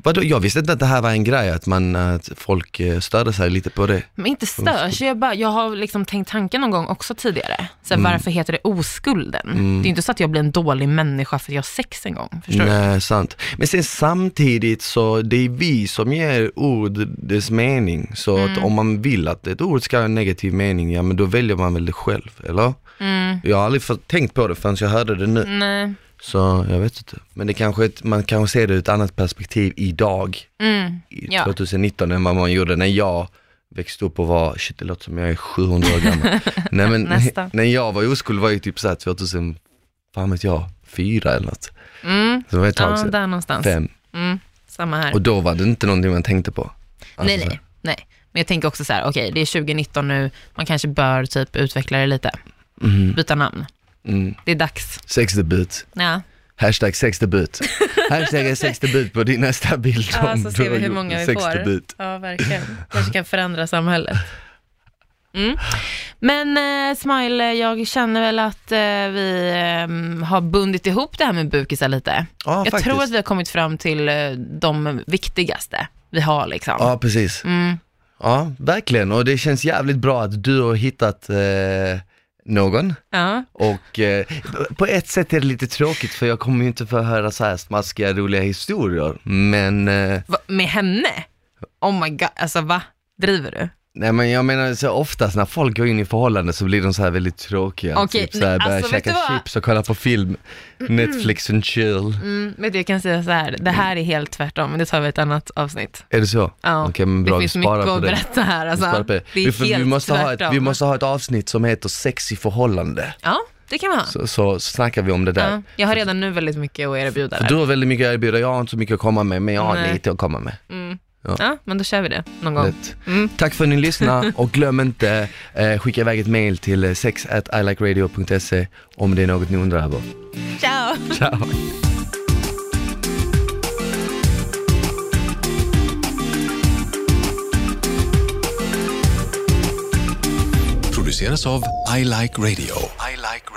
[SPEAKER 2] Vadå, jag visste inte att det här var en grej, att, man, att folk eh, störde sig lite på det.
[SPEAKER 1] Men inte störs, jag, bara, jag har liksom tänkt tanken någon gång också tidigare. Så här,
[SPEAKER 2] Mm.
[SPEAKER 1] Varför heter det oskulden? Det är inte så att jag blir en dålig människa för att jag har sex en gång. Förstår du?
[SPEAKER 2] Nej, sant. Men sen samtidigt så, det är vi som ger ord dess mening. Så
[SPEAKER 1] Mm.
[SPEAKER 2] att om man vill att ett ord ska ha en negativ mening, ja men då väljer man väl det själv, eller?
[SPEAKER 1] Mm.
[SPEAKER 2] Jag har aldrig för, tänkt på det förrän jag hörde det nu.
[SPEAKER 1] Nej.
[SPEAKER 2] Så jag vet inte. Men det kanske, är ett, man kanske ser det ur ett annat perspektiv idag.
[SPEAKER 1] Mm.
[SPEAKER 2] i
[SPEAKER 1] Ja.
[SPEAKER 2] 2019 än vad man gjorde när jag växte upp och var, shit det låter som jag är 700 år gammal. Nej men
[SPEAKER 1] Nästan.
[SPEAKER 2] när jag var i oskuld var ju typ såhär 2000, fan vet jag, fyra eller något.
[SPEAKER 1] Mm.
[SPEAKER 2] Så det var ett tag
[SPEAKER 1] Ja,
[SPEAKER 2] sedan.
[SPEAKER 1] där någonstans.
[SPEAKER 2] Fem.
[SPEAKER 1] Mm. Samma här.
[SPEAKER 2] Och då var det inte någonting man tänkte på. Alltså,
[SPEAKER 1] nej,
[SPEAKER 2] så
[SPEAKER 1] nej, nej. Men jag tänker också så här, okej, det är 2019 nu, man kanske bör typ utveckla det lite. Byta namn.
[SPEAKER 2] här, Mm.
[SPEAKER 1] Det är dags.
[SPEAKER 2] Sexdebut.
[SPEAKER 1] Ja.
[SPEAKER 2] Hashtag sexdebut. Hashtag är sexdebut på din nästa bild.
[SPEAKER 1] Ja,
[SPEAKER 2] om
[SPEAKER 1] så
[SPEAKER 2] du
[SPEAKER 1] ser vi
[SPEAKER 2] har
[SPEAKER 1] hur
[SPEAKER 2] gjort
[SPEAKER 1] många vi
[SPEAKER 2] sexdebut.
[SPEAKER 1] får. Ja, verkligen. Kanske kan förändra samhället. Mm. Men eh, Smile, jag känner väl att eh, vi eh, har bundit ihop det här med bukisar lite.
[SPEAKER 2] Ja,
[SPEAKER 1] jag
[SPEAKER 2] faktiskt.
[SPEAKER 1] tror att vi har kommit fram till eh, de viktigaste vi har liksom.
[SPEAKER 2] Ja, precis.
[SPEAKER 1] Mm.
[SPEAKER 2] Ja, verkligen. Och det känns jävligt bra att du har hittat eh, någon.
[SPEAKER 1] Ja.
[SPEAKER 2] Och eh, på ett sätt är det lite tråkigt för jag kommer ju inte få höra så här smaskiga roliga historier. Men, eh,
[SPEAKER 1] Va, med henne? Oh my god, alltså va? Driver du?
[SPEAKER 2] nej men jag menar så oftast när folk går in i förhållanden så blir de så här väldigt tråkiga.
[SPEAKER 1] Okej,
[SPEAKER 2] typ så här,
[SPEAKER 1] nej,
[SPEAKER 2] börjar
[SPEAKER 1] alltså, vet
[SPEAKER 2] käka
[SPEAKER 1] du vad?
[SPEAKER 2] chips och kolla på film, Netflix and chill.
[SPEAKER 1] Mm, vet du, jag kan säga så här, det här är helt tvärtom, men det tar vi i ett annat avsnitt.
[SPEAKER 2] Är det så?
[SPEAKER 1] Ja,
[SPEAKER 2] Okej, men bra,
[SPEAKER 1] det
[SPEAKER 2] vi
[SPEAKER 1] finns
[SPEAKER 2] sparar
[SPEAKER 1] mycket
[SPEAKER 2] på
[SPEAKER 1] att
[SPEAKER 2] det.
[SPEAKER 1] berätta här.
[SPEAKER 2] Vi
[SPEAKER 1] Alltså.
[SPEAKER 2] sparar på det.
[SPEAKER 1] Det är
[SPEAKER 2] Vi får- vi,
[SPEAKER 1] helt
[SPEAKER 2] måste ha ett,
[SPEAKER 1] tvärtom.
[SPEAKER 2] vi måste ha ett avsnitt som heter sex i förhållande.
[SPEAKER 1] Ja, det kan vi ha.
[SPEAKER 2] Så, så snackar vi om det där.
[SPEAKER 1] Ja, jag har redan nu väldigt mycket att erbjuda
[SPEAKER 2] För
[SPEAKER 1] där.
[SPEAKER 2] du har väldigt mycket att erbjuda, jag har inte så mycket att komma med, men jag har
[SPEAKER 1] Nej.
[SPEAKER 2] lite att komma med.
[SPEAKER 1] Mm.
[SPEAKER 2] Ja.
[SPEAKER 1] Ja, men då kör vi det någon gång.
[SPEAKER 2] Lätt.
[SPEAKER 1] Mm.
[SPEAKER 2] Tack för att ni lyssnade och glöm inte eh, skicka iväg ett mail till sex om det är något ni undrar över.
[SPEAKER 1] Ciao!
[SPEAKER 2] Ciao!
[SPEAKER 4] produceras av I Like Radio. I like